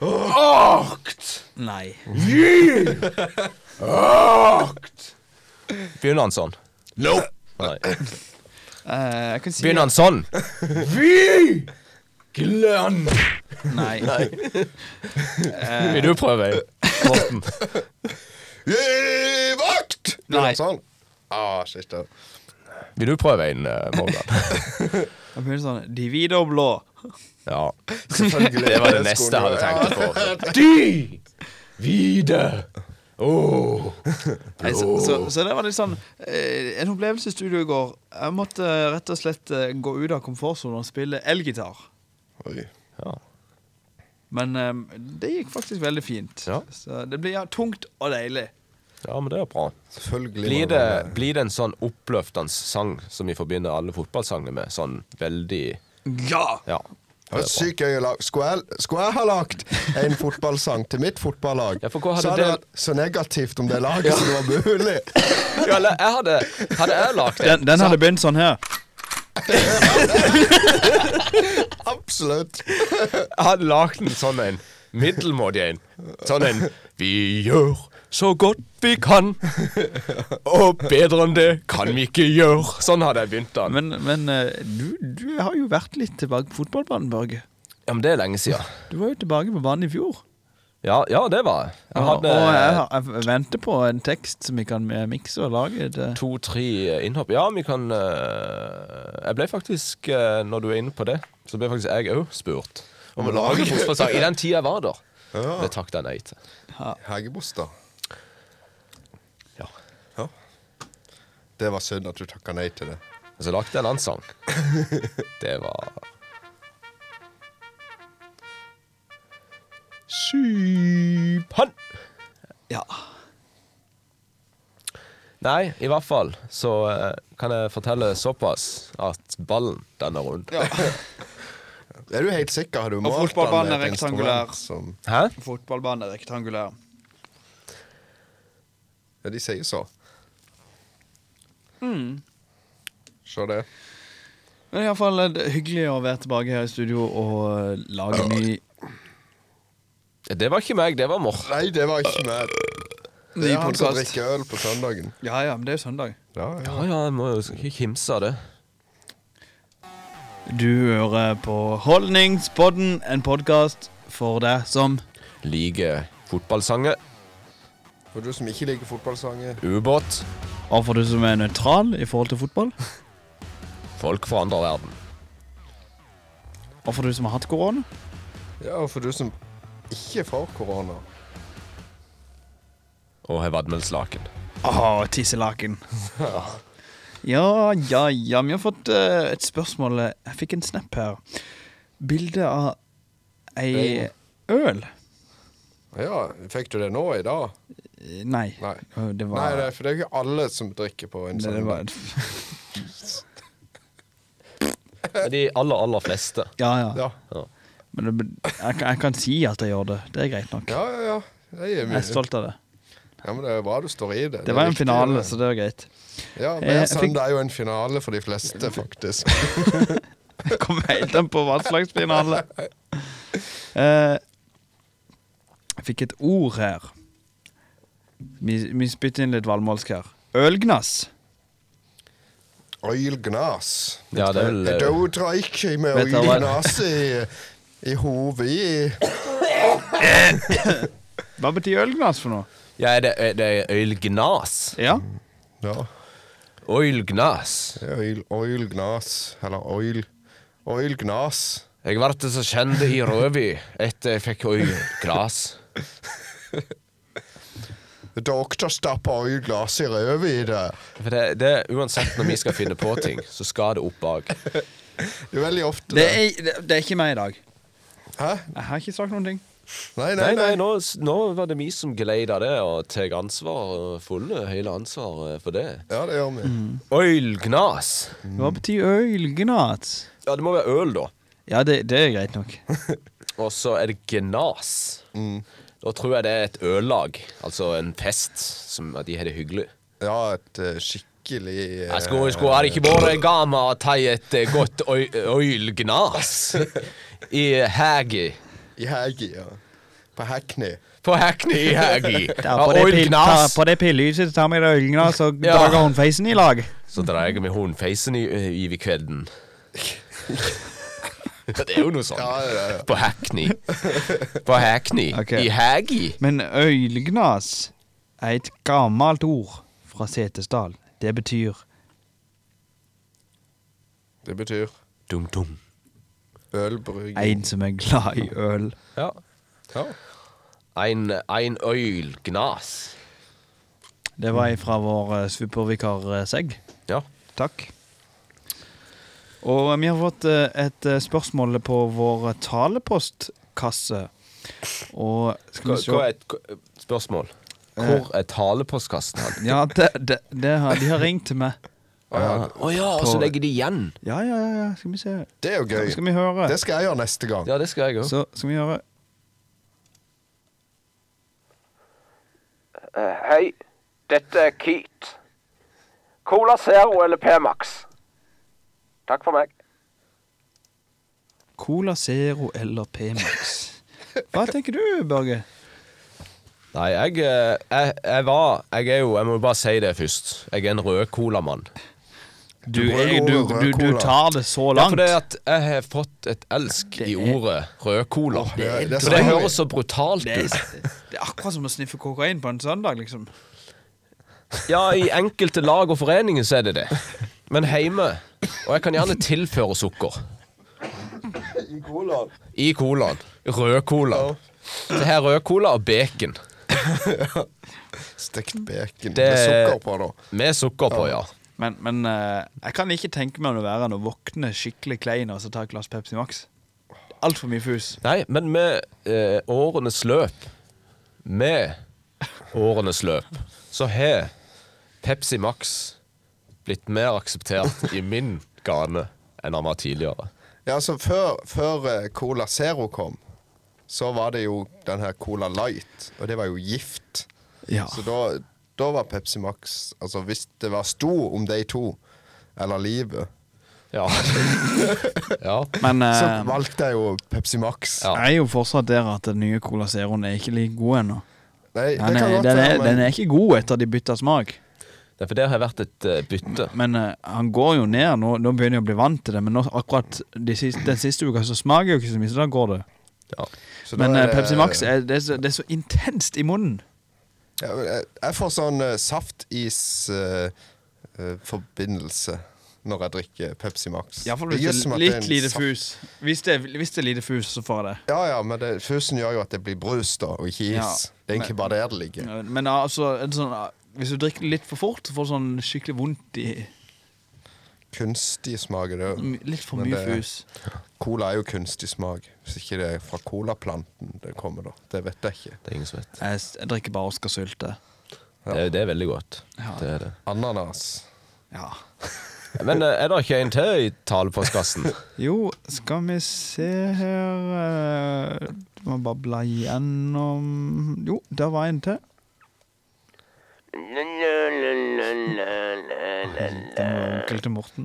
Akt! Nei. Giv! Akt! Begynner han sånn? Nope. Nei. Eh, jeg kan si Begynner han sånn? Vi! Glenn! Nei. Vil du prøve, Morten? Gi vakt! Nei. Nei. Sånn. Ah, shit, da. Vil du prøve en, eh, Morgan? Jeg begynner sånn De hvite og blå. Ja. Selvfølgelig. Det var det Skolen- neste jeg hadde tenkt på. De hvite oh. Nei, så, så, så det var litt sånn eh, En opplevelse i studio i går. Jeg måtte eh, rett og slett eh, gå ut av komfortsonen og spille elgitar. Oi. ja. Men eh, det gikk faktisk veldig fint. Ja. Så det blir ja, tungt og deilig. Ja, men det er bra. Selvfølgelig. Blir må det, være- blir det en sånn oppløftende sang som vi forbinder alle fotballsanger med? Sånn veldig Ja! Ja. Det var sykt gøy å lage. Skulle jeg, skulle jeg ha lagd en fotballsang til mitt fotballag, Ja, for hva hadde så hadde det det- vært så negativt om det laget som det var mulig. ja eller jeg hadde, hadde jeg lagd Den, den hadde begynt sånn her. Absolutt. Jeg hadde lagd en sånn en middelmådig en. Sånn en Vi gjør så godt vi kan, og bedre enn det kan vi ikke gjøre. Sånn hadde jeg begynt den. Men, men eh, du, du har jo vært litt tilbake på fotballbanen, Børge. Ja, men det er lenge siden. Du var jo tilbake på banen i fjor. Ja, ja det var jeg. Jeg hadde og eh, jeg, har- jeg venter på en tekst som vi kan eh, mikse og lage. eh, Det. to-tre innhopp. Ja, vi kan eh, Jeg ble faktisk, eh, når du er inne på det, så ble faktisk jeg òg spurt om å lage fotballsang i den tida jeg var der. Ja. Det takket jeg nei til. Hegebostad. Ja. Ja. Det var synd at du takka nei til det. Og så lagde jeg en annen sang. Det var Sypan! Ja. Nei, i hvert fall så eh, kan jeg fortelle såpass at ballen, den er rund. Er du helt sikker? Har du malt den fotballbanen med er et instrument rektangulær. Som, Hæ? Fotballbanen er rektangulær. ja, de sier så. Mm. Se det. Men iallfall eh, hyggelig å være tilbake her i studio og eh, lage ny, Det var ikke meg, det var Mor. Nei, det var ikke meg. Det ny er han som podkast. drikker øl på søndagen. Ja ja, men det er jo søndag. Ja, ja. Ja, ja, jeg må jo ikke kimse av det. Du hører på Holdningspodden, en podkast for deg som Liker fotballsanger, For du som ikke liker fotballsanger. ubåt, Og for du som er nøytral i forhold til fotball. folk fra andre verden. Og for du som har hatt korona. Ja, og for du som ikke får korona. Og Hevadmelslaken. Ah, Åh, tisselaken. Ja, ja, ja. Vi har fått eh, et spørsmål. Jeg fikk en snap her. Bilde av ei øl. Ja, fikk du det nå i dag? Eh, Nei. Nei. Å, Det Nei, var det, er- for det er jo ikke alle som drikker på en det, det søndag. var De aller, aller fleste. Ja, ja. Ja, Men det, jeg, kan- jeg kan si at jeg gjør det. Det er greit nok. ja, ja. ja. Det er Jeg er mye. stolt av det. Ja, men det er jo bra du står i det. Det var en viktig, finale, det. så det var greit. Ja, Eh, hver jeg fikk- søndag er jo en finale for de fleste, faktisk. Det kommer helt an på hva slags finale. Eh, jeg fikk et ord her. Vi, vi spytter inn litt valmolsk her. Ølgnass. Øylgnas. Ja, det er vel, eh, Da dreik jeg med Vet du hva- øylgnas i, i hodet. Hva betyr ølgnass for noe? Ja, er det, er det Øylgnas? Ja, Ja, Øylgnas. det er øyl- øylgnas. Eller øyl... Øylgnas. Jeg ble så kjent i rødby etter jeg fikk øylglas. Doktor stapper øylglas i røven i det. For det, det er uansett når vi skal finne på ting, så skal det opp bak. Det er veldig ofte det det. er, det, det er ikke meg i dag. Hæ? Jeg har ikke sagt noen ting. Nei, nei, Nei, nei. nei, nå, s- nå var det vi som gleida det, og tar ansvar, og fulle hele ansvaret for det. Ja, det gjør vi. Mm. Øylgnas. Hva betyr ølgnass? Ja, det må være øl, da. Ja, det, det er greit nok. Og så er det gnas. Da tror jeg det er et øllag, altså en fest, som at de har det hyggelig. Ja, et eh, skikkelig eh, Jeg skulle, skulle hadde ikke vært gama og tatt et eh, godt øy- øylgnas i Hægi. eh, I Hægi, ja. På Hackney. På Hackney i Hægi. Ta Ja, på det pill- ta Øylgnas. på det pillelyset, ta med deg ølgnass og Ja. drar håndfeisen i lag. Så drar jeg med hundfeisen i, eh, i i kvelden. Det er jo noe sånt. Ja, ja, ja. På Hackney. På Hackney Ok. i Hægi. Men øylgnas er et gammelt ord fra Setesdal. Det betyr Det betyr Dum-dum. ølbrygging. en som er glad i øl. Ja. Ja. Ein, ein øylgnas. Det var fra vår eh, supervikar eh, Segg. Ja. Takk. Og vi har fått eh, et eh, spørsmål på vår talepostkasse. Og skal Hva, vi se Eh. hva er et hva- spørsmål? Hvor er talepostkasten hans? Ja, det, det, det har, de har ringt til meg. Å ja, og så legger de igjen. Ja, ja, ja, ja, skal vi se. Det er jo gøy. Skal vi høre? Det skal jeg gjøre neste gang. Ja, det skal jeg òg. Så skal vi høre. Eh, hei, dette er Keat. Cola Zero eller P-Max? Takk for meg. Cola Zero eller P-Max? Hva tenker du, Børge? Nei, jeg, eh, jeg, jeg var Jeg er jo Jeg må jo bare si det først. Jeg er en rød colamann. Du, må jo jeg, du, gå du, rød du cola. tar det så Ja, langt. for det er at jeg har fått et elsk i ordet rød cola. Åh, det er- det er For det sant. høres så brutalt Det ut. er, det er akkurat som å sniffe kokain på en søndag, liksom. Ja, i enkelte lag og foreninger så er det det. Men heime Og jeg kan gjerne tilføre sukker. I colaen. I colaen. Rød cola. Det her er rød cola og bacon. Stekt bacon Det- med sukker på, da. Med sukker på, ja. Men, men eh, jeg kan ikke tenke meg noe verre enn å våkne skikkelig klein og så ta et glass Pepsi Max. Altfor mye fus. Nei, men med eh, årenes løp Med årenes løp så har Pepsi Max blitt mer akseptert i min gane enn han var tidligere. Ja, altså før, før eh, Cola Zero kom, så var det jo den her Cola Light, og det var jo gift. Ja. Så da, da var Pepsi Max Altså hvis det var sto om de to, eller livet, Ja. ja. Men eh, så valgte jeg jo Pepsi Max. Ja. jeg er jo fortsatt der at den nye Cola Zeroen er ikke like god ennå. Nei, det Den, kan er- godt den, være, er- men den er ikke god etter de bytta smak. Det er For det har vært et eh, bytte. Men eh, han går jo ned. Nå, nå begynner jeg å bli vant til det, men nå, akkurat de siste, den siste uka så smaker jeg jo ikke så mye, så da går det. Ja. så da Men er eh, det- Pepsi Max er, det, er så, det er så intenst i munnen. Ja, men jeg, jeg får sånn eh, saftis-forbindelse når jeg drikker Pepsi Max. Ja, for Det hvis gjør det som at er det er litt en lite saft- fus. Hvis det, er- hvis det er lite fus, så får jeg det. Ja, ja, men det, fusen gjør jo at det blir brus, da, og ikke is. Ja, det er egentlig bare der det ligger. Men altså, en sånn, hvis du drikker litt for fort, så får du sånn skikkelig vondt i Kunstig smak er det jo. Litt for Men mye det- fus. Cola er jo kunstig smak. Hvis ikke det er fra colaplanten det kommer, da. Det vet jeg ikke. Det er ingen som vet. Jeg, s- jeg drikker bare Oscarsylte. Ja. Det, er- det er veldig godt. Ja. Det er det. Ananas. Ja. Men eh, er det ikke en til i talepostkassen? Jo, skal vi se her eh, Må bare bla gjennom Jo, der var en til. Den var onkel til Morten.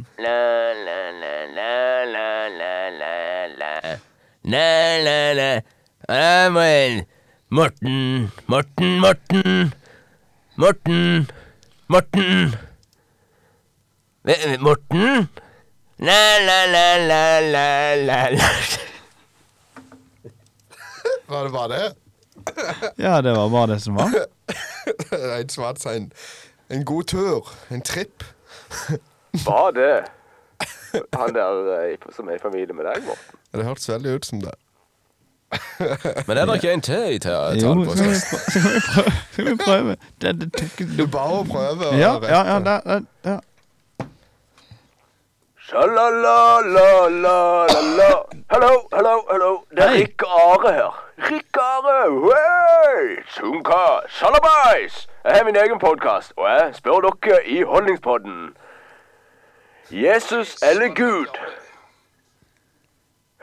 Morten, Morten, Morten. Morten, Morten. Morten? La, la, la, la, la, la, la. Var det bare det? Ja, det var bare det som var. Det er En som hadde seg en, en god tur. En tripp. Var det han der eh, i- som er i familie med deg, Morten? Ja, Det hørtes veldig ut som det. Men er det ikke en til i ta- Jo, skal vi, talepostkassen? prø- skal vi prøve? Skal vi prøve? Det, det tok Du bare å prøve. å Ja, rette. ja, ja, der, der, der. Sjalalalalalala. Hallo, hallo, hallo. Det er Hei. Rikke Are her. Rikke Are, hei! Sunka, sjalabais! Jeg har min egen podkast, og jeg spør dere i Holdningspodden. Jesus eller Gud?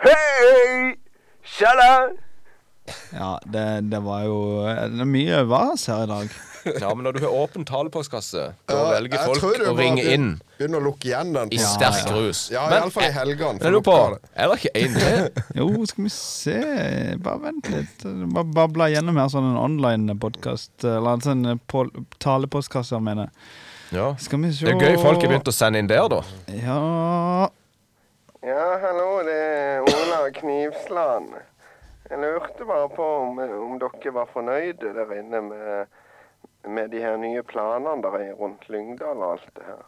Hei! Sjala! Ja, det, det var jo eh, Det er mye vas her i dag. Ja, men når du har åpen talepostkasse, da Ja, velger jeg tror folk du å må ringe begyn- inn Begynne å lukke igjen den. i Ja, sterk rus. ja Men iallfall i helgene. jeg lurer på Er det ikke en til? Jo, skal vi se Bare vent litt. Bare babla gjennom her sånn en online podkast. Eller en sånn pol- talepostkasse, mener jeg. Ja. Skal vi se Det er gøy folk har begynt å sende inn der, da. Ja Ja, hallo, det er Ola Knivsland. Jeg lurte bare på om, om dere var fornøyde der inne med, med de her nye planene der er rundt Lyngdal og alt det her.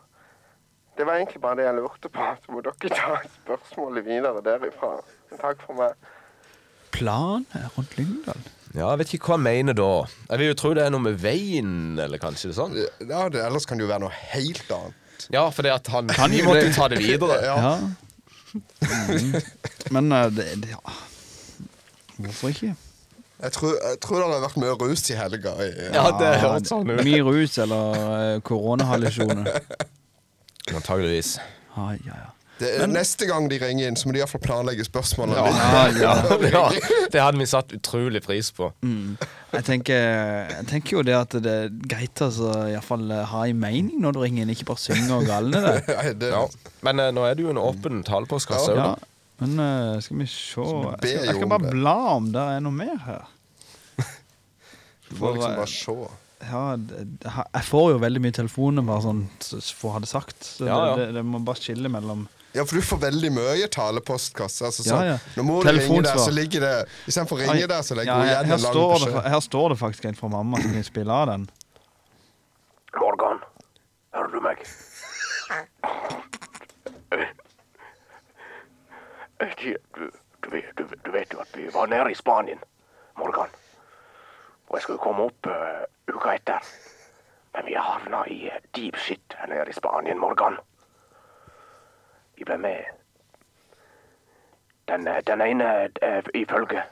Det var egentlig bare det jeg lurte på, så må dere ta spørsmålet videre derifra. Takk for meg. Plan her rundt Lyngdal? Ja, Jeg vet ikke hva han mener da. Jeg vil jo tro det er noe med veien, eller kanskje det er sånn. Ja, det, ellers kan det jo være noe helt annet. Ja, for det at han Kan Vi jo måtte det. jo ta det videre. Ja. Ja. Mm. Men eh, det, det Ja. Hvorfor ikke? Jeg tror, jeg tror det har vært mye rus i helga. i- Ja, det hørtes sånn ut. Mye rus eller eh, koronahallusjoner. Antageligvis. Ja, Ah, ja, ja. Det er, neste gang de ringer inn, så må de iallfall planlegge spørsmålene. Ja, ja. Ja, det hadde vi satt utrolig pris på. Mm. Jeg, tenker, jeg tenker jo det at det er greit å altså, i hvert fall, eh, ha en mening når du ringer inn, ikke bare synge og galne det. Nei, det, Ja. Men eh, nå er det jo en åpen talepostkasse. Ja. også, da. Men eh, skal vi se Jeg be skal, jo jeg skal om bare det. bla om det er noe mer her. Du må liksom For, bare se. Ja, det- det- jeg får jo veldig mye telefoner bare sånn s- for å ha det sagt. Så Ja, ja. Det, det, det må bare skille mellom Ja, for du får veldig mye talepostkasse. Altså, sånn, Ja, ja. Når mor ringer der, Telefonsvar. så ligger det Istedenfor å ringe der, så legger ja, hun her, igjen her, en lang står det, beskjed. fa- her står det faktisk en fra mamma som kan spille av den. Morgan, hører du meg? Du, Eh, du, du, vet- du, du vet jo at vi var nede i Spanien, Morgan. Og jeg skulle komme opp eh, uka etter. Men vi havna i eh, deep shit her nede i Spanien, Morgan. Vi ble med Den, eh, den ene eh, ifølge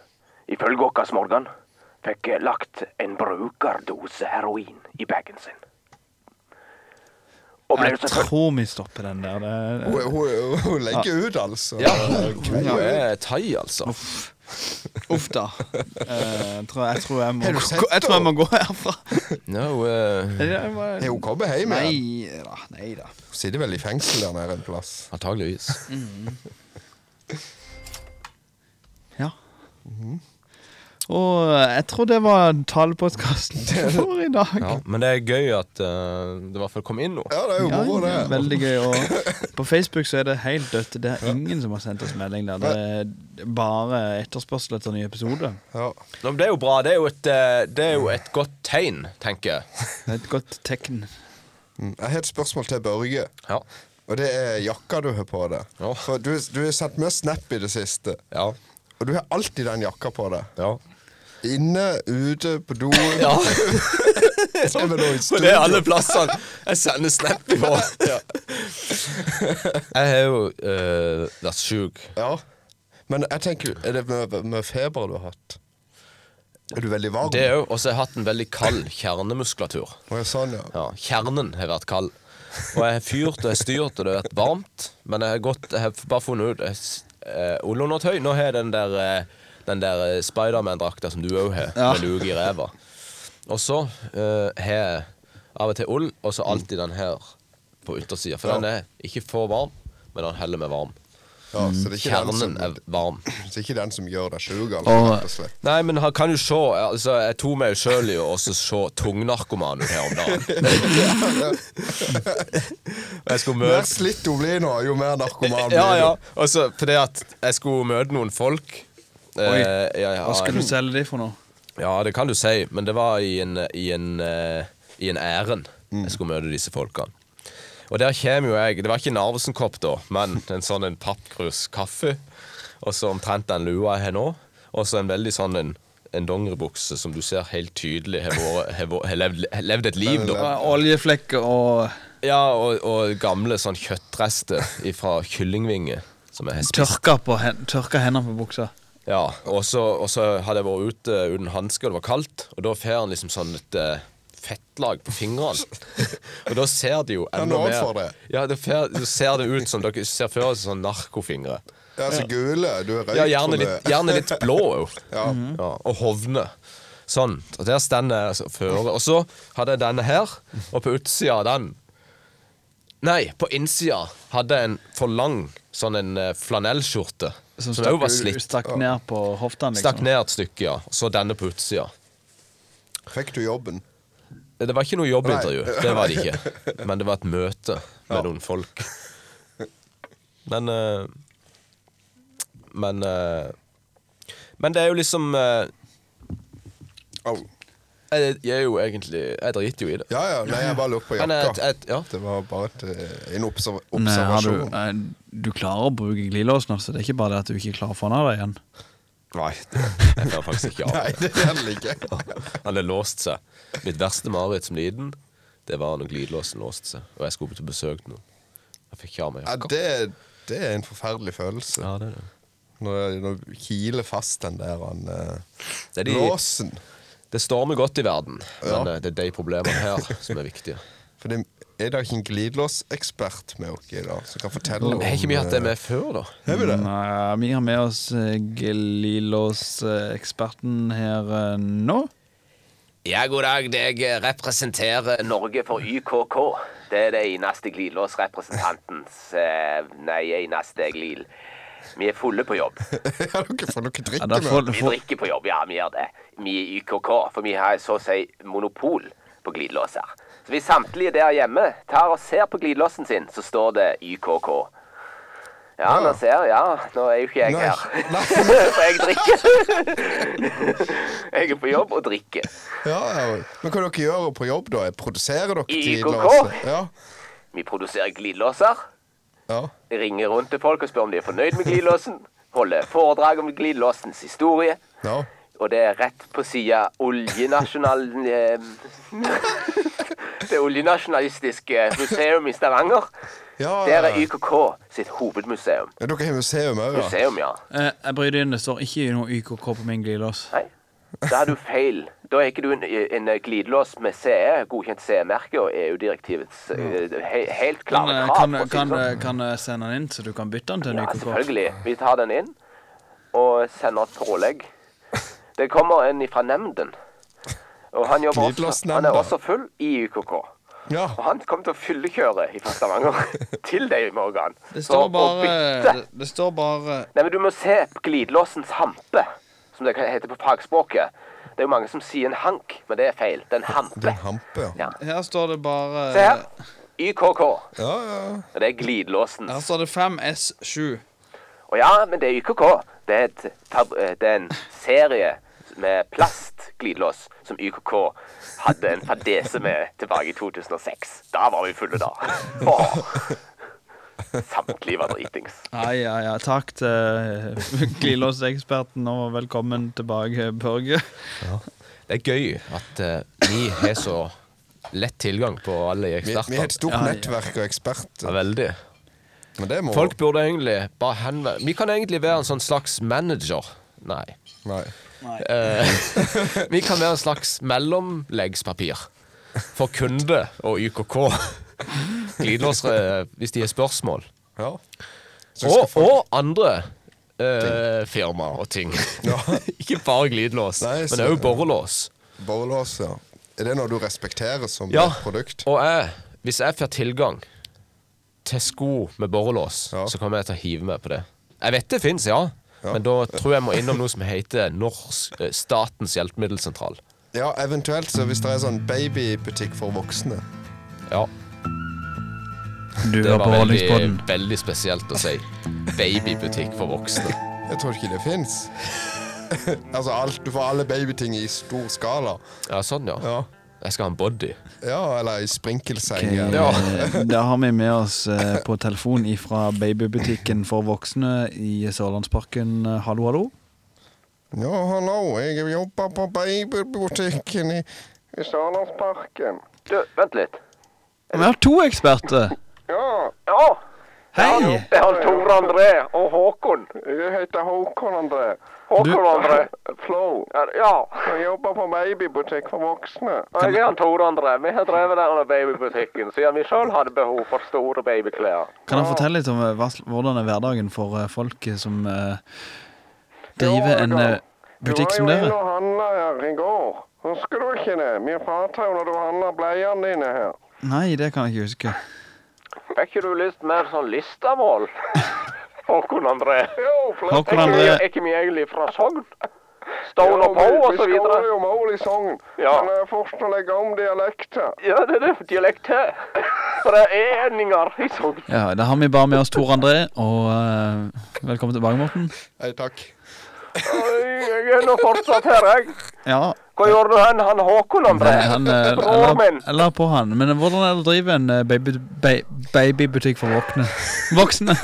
Ifølge oss, Morgan, fikk eh, lagt en brukerdose heroin i bagen sin. Og ble Jeg jo selvfølgelig tror vi stopper den der. Det, Hun, hun, hun legger ut, altså. Ja, hun er thai, altså. uff da. Eh, jeg, tror, jeg, tror jeg, må, Har du sett gå- jeg tror jeg må gå herfra. Ja, hun er Jeg må- Har hun kommet hjem igjen? Nei da. Nei da. Hun sitter vel i fengsel der nede en plass. antageligvis. Ja. Mhm. Og eh, jeg tror det var talepostkassen for i dag. Ja, men det er gøy at eh, det i hvert fall kom inn nå. Ja, det er jo moro, det. Ja, veldig gøy. Og på Facebook så er det helt dødt. Det er ingen som har sendt oss melding der. Det er bare etterspørsel etter nye episoder. Ja. Nå, men det er jo bra. Det er jo et, eh, det er jo et godt tegn, tenker jeg. Det er et godt tegn. Mm, Jeg har et spørsmål til Børge. Ja. Og det er jakka du har på deg. Ja. For du, du har sendt mye snap i det siste. Ja. Og du har alltid den jakka på deg. ja. Inne, ute, på doen. Ja. til og med nå i Og det er studio. alle plassene jeg sender snap i på. Jeg har jo eh, vært sjuk. Ja. Men jeg tenker, er det med, med feber du har hatt? Er du veldig varm? Det òg. Og så har jeg hatt en veldig kald kjernemuskulatur. Å, ja, sånn, ja. Ja, Kjernen har vært kald. Og jeg har fyrt og jeg har styrt, og det har vært varmt. Men jeg har, gått, jeg har bare funnet ut uh, ullundertøy. Nå har jeg den der, eh, den der eh, Spiderman-drakta som du òg har, med luke i ræva. Og så eh, har jeg av og til ull, og så alltid den her på yttersida. For den er ikke for varm, men den heller meg varm. ja så det er ikke den Kjernen som, er varm. det er ikke den som gjør deg sjuk, altså, Og- rett og slett. Nei, men han kan jo se altså, Jeg tok meg jo sjøl i å også se tungnarkoman ut her om dagen. Og jeg skulle Jo møte mer slitt hun blir nå, jo mer narkoman blir Ja, du. ja. Og så fordi at jeg skulle møte noen folk. Eh, Oi. ja, ja, Hva skal du selge de for nå? ja, det kan du si, men det var i en, i en, eh, i en ærend jeg skulle møte disse folkene. Og der kommer jo jeg. Det var ikke en Narvesen-kopp da, men en sånn en pappkrus kaffe. Og så omtrent den lua jeg har nå. Og så en veldig sånn en, en dongeribukse som du ser helt tydelig har vært- har vært- har levd, har levd et liv, da. Eh, Oljeflekker og Ja, og, og gamle sånn kjøttrester fra kyllingvinger som jeg har spist. tørka, på hen tørka hendene på buksa. Ja, og så, og så hadde jeg vært ute uten hansker, og det var kaldt, og da får han liksom sånn et eh, fettlag på fingrene. og da ser det jo enda nå får mer det. Ja, da fer- da ser det ut som dere ser før oss sånn narkofingre. Ja, så gule. Du er røyk. Ja, gjerne tror jeg. litt, gjerne litt blå òg. Ja. Ja, og hovne. Sånn. Og der stender jeg altså føre. Og så hadde jeg denne her, og på utsida av den Nei, på innsida hadde jeg en for lang sånn en eh, flanellskjorte. Som stakk òg var ut- slitt. Stakk ned på hoftene, liksom. Stakk ned et stykke, ja. Og så denne på utsida. Fikk du jobben? Det var ikke noe jobbintervju, det var det ikke. Men det var et møte med noen folk. Men eh, Men eh, Men det er jo liksom eh, Au. Jeg jeg er jo egentlig Jeg driter jo i det. Ja, ja. Nei, jeg bare lurte på Men eh, jakka. et, et, ja. Det var bare et, eh, en obser Nei, har du, observasjon. nei, du klarer å bruke glidelåsen, altså. Det er ikke bare det at du ikke klarer å få den av deg igjen. Nei, det- jeg klarer faktisk ikke Nei, av det. det gjelder ikke. Han hadde låst seg. Mitt verste mareritt som liten, det var når glidelåsen låste seg, og jeg skulle på besøk til noen. Jeg fikk ikke av meg Ja, jakka. det, det er en forferdelig følelse. Ja, det er det. Når når du kiler fast den der han, eh, Det, er de, låsen. det stormer godt i verden, men Ja. eh, det er de problemene her som er viktige. For det er da ikke en glidelåsekspert med oss i dag som kan fortelle om eh, Har ikke vi hatt det med før, da? Har vi det? Nei, vi har med oss eh, Gelilås-eksperten her eh, nå. Ja, god dag. Jeg representerer Norge for YKK. Det er det eneste glidelåsrepresentantens eh, Nei, eneste glil. Vi er fulle på jobb. Har dere fått noe drikke Ja, da med? får, Vi får, drikker på jobb, ja, vi gjør det. Vi i YKK, for vi har så å si monopol på glidelåser. Så hvis samtlige der hjemme tar og ser på glidelåsen sin, så står det YKK. Ja, nå ser Ja, nå er jo ikke jeg Nei. her. Nei. For jeg drikker. Jeg er på jobb og drikker. Ja, ja. Men hva dere gjør på jobb, da? Produserer dere I glidelåser? Ja, Vi produserer glidelåser. ja. ringer rundt til folk og spør om de er fornøyd med glidelåsen. Holder foredrag om glidelåsens historie. ja. Og det er rett på sida oljenasjonalen eh, Det oljenasjonalistiske museum i Stavanger. ja. Der er YKK sitt hovedmuseum. Ja, Dere har museum òg, ja? Museum, ja. eh, jeg bryr deg inn, det står ikke noe YKK på min glidelås. Nei, da har du feil. Da er ikke du en, en glidelås med CE, godkjent CE-merke og EU-direktivets eh, he, helt Kan, klare eh, krav. kan, for å si det kan, sånn. eh, kan jeg sende den inn, så du kan bytte den til en Ja, YKK? selvfølgelig. Vi tar den inn og sender et pålegg. Det kommer en fra nemnden. Og han, jobber også, han Glidelåsnemnda. er også full i UKK. Ja. Og han kommer til å fyllekjøre fra Stavanger til deg i morgen. Det For står å bare, bytte. det, det står bare Nei, men Du må se på glidelåsens hampe, som det heter på fagspråket. Det er jo mange som sier en hank, men det er feil. Det er en hampe. Det er en hampe, ja. Ja. Her står det bare Se her. YKK. Ja, ja. Og Det er glidelåsen. Her står det 5S7. Og ja, men det er YKK. Det er, et, tab- eh, det er en serie med plastglidelås som YKK hadde en fadese med tilbake i 2006. Da var vi fulle, da. Åh. Samtlige var dritings. Ja, ja, ja. Takk til glidelåseksperten, og velkommen tilbake, Børge. Det er gøy at eh, vi har så lett tilgang på alle Vi, vi har ekspertene. et stort Ja, ja. nettverk av eksperter. Ja, veldig. Men det må Folk burde egentlig bare henvende Vi kan egentlig være en sånn slags manager. Nei. Nei. Eh, vi kan være en slags mellomleggspapir for kunde og YKK. Glidelåsere eh, hvis de har spørsmål. Ja. Så skal Og, folk- og andre eh, firmaer og ting. Ja. Ikke bare glidelås, Nei, men så- òg borrelås. Borrelås, ja. Er det noe du respekterer som Ja. et produkt? Og jeg, hvis jeg får tilgang til sko med borrelås, Ja. så kommer jeg til å hive meg på det. Jeg vet det fins, ja. Ja. Men da tror jeg må innom noe som heter Norsk, eh, Statens hjelpemiddelsentral. Ja, eventuelt så hvis det er sånn babybutikk for voksne. Ja, Du det var var på veldig, Rollingspodden. veldig spesielt å si. Babybutikk for voksne. Jeg tror ikke det fins. altså, alt, du får alle babyting i stor skala. Ja, sånn, ja. Ja, Jeg skal ha en body. ja eller i sprinkelseng. Ok, eller- eh, Da har vi med oss eh, på telefon fra babybutikken for voksne i Sørlandsparken. Eh, Hallo, hallo. Ja, hallo, jeg jobber på babybutikken i I Sørlandsparken. Du, vent litt. Vi har to eksperter. Ja, Ja, Hei! det er han Tore André og Håkon. jeg heter Håkon André. Håkon André. Flo. Ja, Jeg jobber på babybutikk for voksne. og jeg er han Tore André. Vi har drevet denne babybutikken siden vi sjøl hadde behov for store babyklær. Kan han fortelle litt om eh, hva, sl- hvordan er hverdagen for eh, folk eh, som eh, driver en eh, butikk som Du var jo inne dere? og handla her i går. Husker du ikke det? Vi prata jo når du handla bleiene dine her. Nei, det kan jeg ikke huske. Er ikke du litt mer sånn listamål? Håkon André. Jo, flott. Håkon André. Er ikke vi egentlig fra Sogn? Ja, Stone og vi- Poe og så Vi skårer videre. jo mål i Sogn. Ja. Men det er fort å legge om dialekter. Ja, det er det. Dialekt til. For det er endinger i Sogn. Ja, Da har vi bare med oss Tor André, og eh, velkommen tilbake, Morten. Hei, takk. Jeg er nå fortsatt her, jeg. Ja, Hva gjorde du hen, han Håkon André? Nei, han eh, Broren la, min. la på han. Men eh, hvordan er det å drive en eh, baby, ba, babybutikk for voksne? Voksne?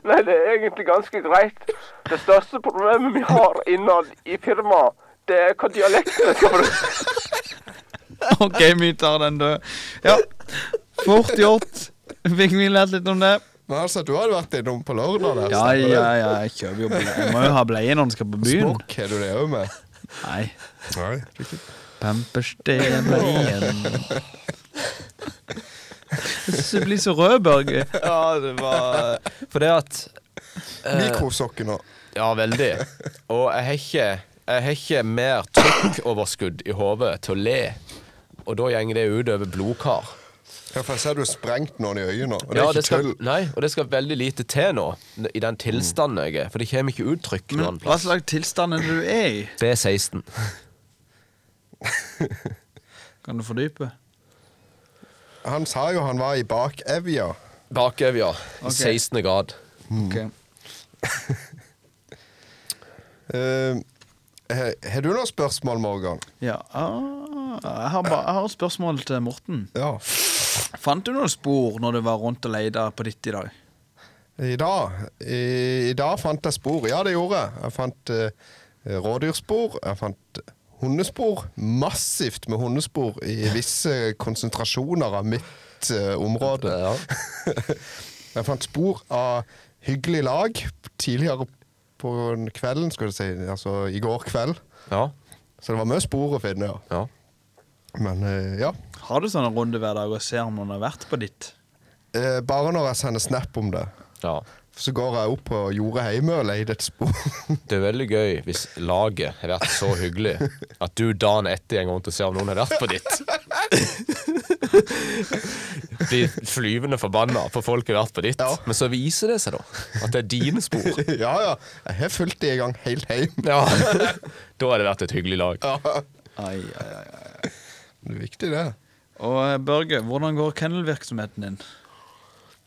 Nei, det er egentlig ganske greit. Det største problemet vi har innad i firmaet, det er hva dialekten vi skal bruke. OK, vi tar den død. Ja, fort gjort. Fikk vi lært litt om det? Men altså, du hadde vært innom på lørdag der. Ja, stemmer det? ja, ja, jeg kjøper jo bleie. Jeg må jo ha bleie når en skal på byen. Smokk har du det òg med. Nei. Nei. Pampers, det er bleien. Du blir så rød, Børge. Ja, det var Fordi at Mikrosokken og Ja, veldig. Og jeg har ikke Jeg har ikke mer trykkoverskudd i hodet til å le. Og da går det ut over blodkar. Ja, for jeg ser du har sprengt noen i øynene. Og det Ja, er ikke skal, tull. nei, og det skal veldig lite til nå, i den tilstanden jeg er. For det kommer ikke uttrykk noen Hva plass. slags tilstand er det du er i? Det er 16. Kan du fordype? Han sa jo han var i bakevja. Bakevja. Ok. I 16. grad. Ok. Eh, he- Har du noen spørsmål, Morgan? Ja, ah, jeg, har ba, jeg har et spørsmål til Morten. Ja. Fant du noen spor når du var rundt og leide på ditt i dag? I dag, i, I dag fant jeg spor. Ja, det gjorde jeg. Jeg fant eh, rådyrspor. Jeg fant hundespor. Massivt med hundespor i visse konsentrasjoner av mitt eh, område. jeg fant spor av hyggelig lag tidligere på kvelden, skal du si. Altså i går kveld. Ja. Så det var mye spor å finne, ja. ja. Men eh, ja. Har du sånne runder hver dag og ser om noen har vært på ditt? Eh, bare når jeg sender snap om det, ja. så går jeg opp på jordet hjemme og leter et spor. Det er veldig gøy hvis laget har vært så hyggelig at du dagen etter en gang til å se om noen har vært på ditt. Blir flyvende forbanna for folk har vært på ditt. Ja. Men så viser det seg, da, at det er dine spor. ja, ja. Jeg har fulgt de i gang helt hjem. Ja. Da har det vært et hyggelig lag. Ai, ai, ai, ai. Det er viktig, det. Og eh, Børge, hvordan går kennelvirksomheten din?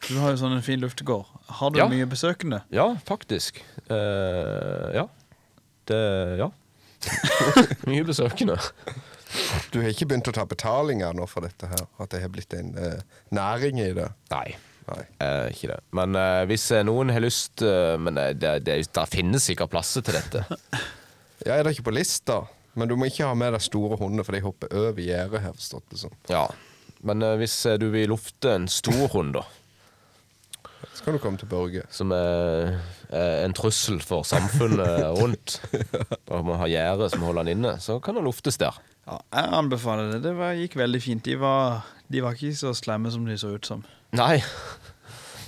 Du har jo sånn en fin luftegård. Har du Ja. mye besøkende? Ja, faktisk. Eh, ja. Det Ja. Mye besøkende. Du har ikke begynt å ta betaling ennå for dette her? At det har blitt en eh, næring i det? Nei. Nei. Eh, ikke det. Men eh, hvis eh, noen har lyst eh, Men eh, det, det, der finnes sikkert plasser til dette. Jeg er da ikke på lista, men du må ikke ha med deg store hunder, for de hopper over gjerdet, har jeg forstått det som. Ja. Men eh, hvis eh, du vil lufte en stor hund, da, Så kan du komme til Børge. som er eh, en trussel for samfunnet rundt, og må ha gjerde som holder han inne, så kan han luftes der. Ja, jeg anbefaler det. Det var, gikk veldig fint. De var, de var ikke så slemme som de så ut som. Nei.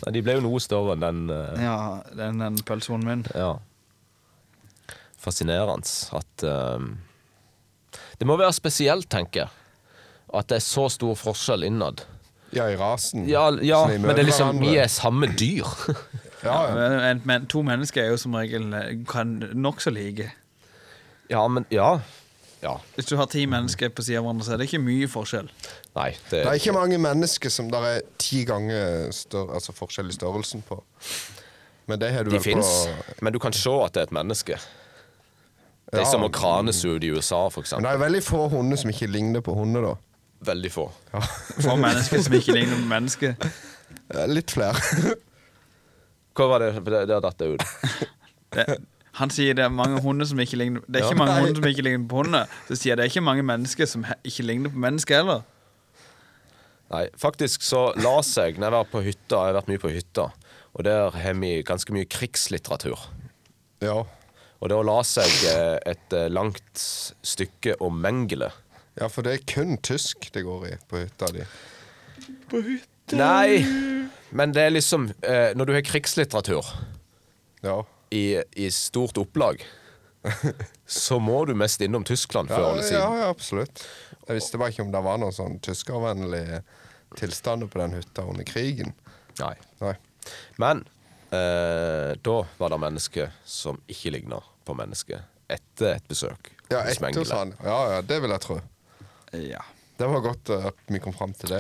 Nei de ble jo noe større enn den eh, Ja, den, den pølsehunden min. Ja. Fascinerende at ehm, Det må være spesielt, tenker jeg. At det er så stor forskjell innad. Ja, i rasen. Ja, ja Så de men møter det er liksom hverandre. Vi er samme dyr. Ja, ja. Men, en- men to mennesker er jo som regel eh, kan nokså like. ja, men Ja. Ja. Hvis du har Mhm. ti mennesker på siden av hverandre, så er det ikke mye forskjell. Nei, det, Det er ikke mange mennesker som der er ti ganger større, altså forskjell i størrelsen på. Men det har du De vel fins, på men du kan se at det er et menneske. Det Ja. er som å kranes ut i USA, for Men eksempel. det er veldig få hunder som ikke ligner på hunder, da. Veldig få. For mennesker som ikke ligner på mennesker. Eh, Litt flere. Hva var det det- Der datt jeg ut. Det, han sier det er mange hunder som ikke ligner Det er ikke mange hunder som ikke ligner på hunder. Så sier jeg det er ikke mange mennesker som he- ikke ligner på mennesker heller. Nei, faktisk så la seg når jeg var på hytta. Jeg har vært mye på hytta, og der har vi ganske mye krigslitteratur. ja. Og da la seg eh, et eh, langt stykke om Mengele. ja, for det er kun tysk det går i på hytta di. Nei! Men det er liksom eh, Når du har krigslitteratur Ja. i, i stort opplag, så må du mest innom Tyskland Ja, før eller ja, siden. ja, absolutt. Jeg visste bare ikke om det var noen sånn tyskervennlig tilstander på den hytta under krigen. Nei. Nei. Men eh, da var det mennesker som ikke ligna på mennesker, etter et besøk Ja, hos etter Mengele. sånn. Ja, ja, det vil jeg tro. Ja. Det var godt eh, at vi kom fram til det.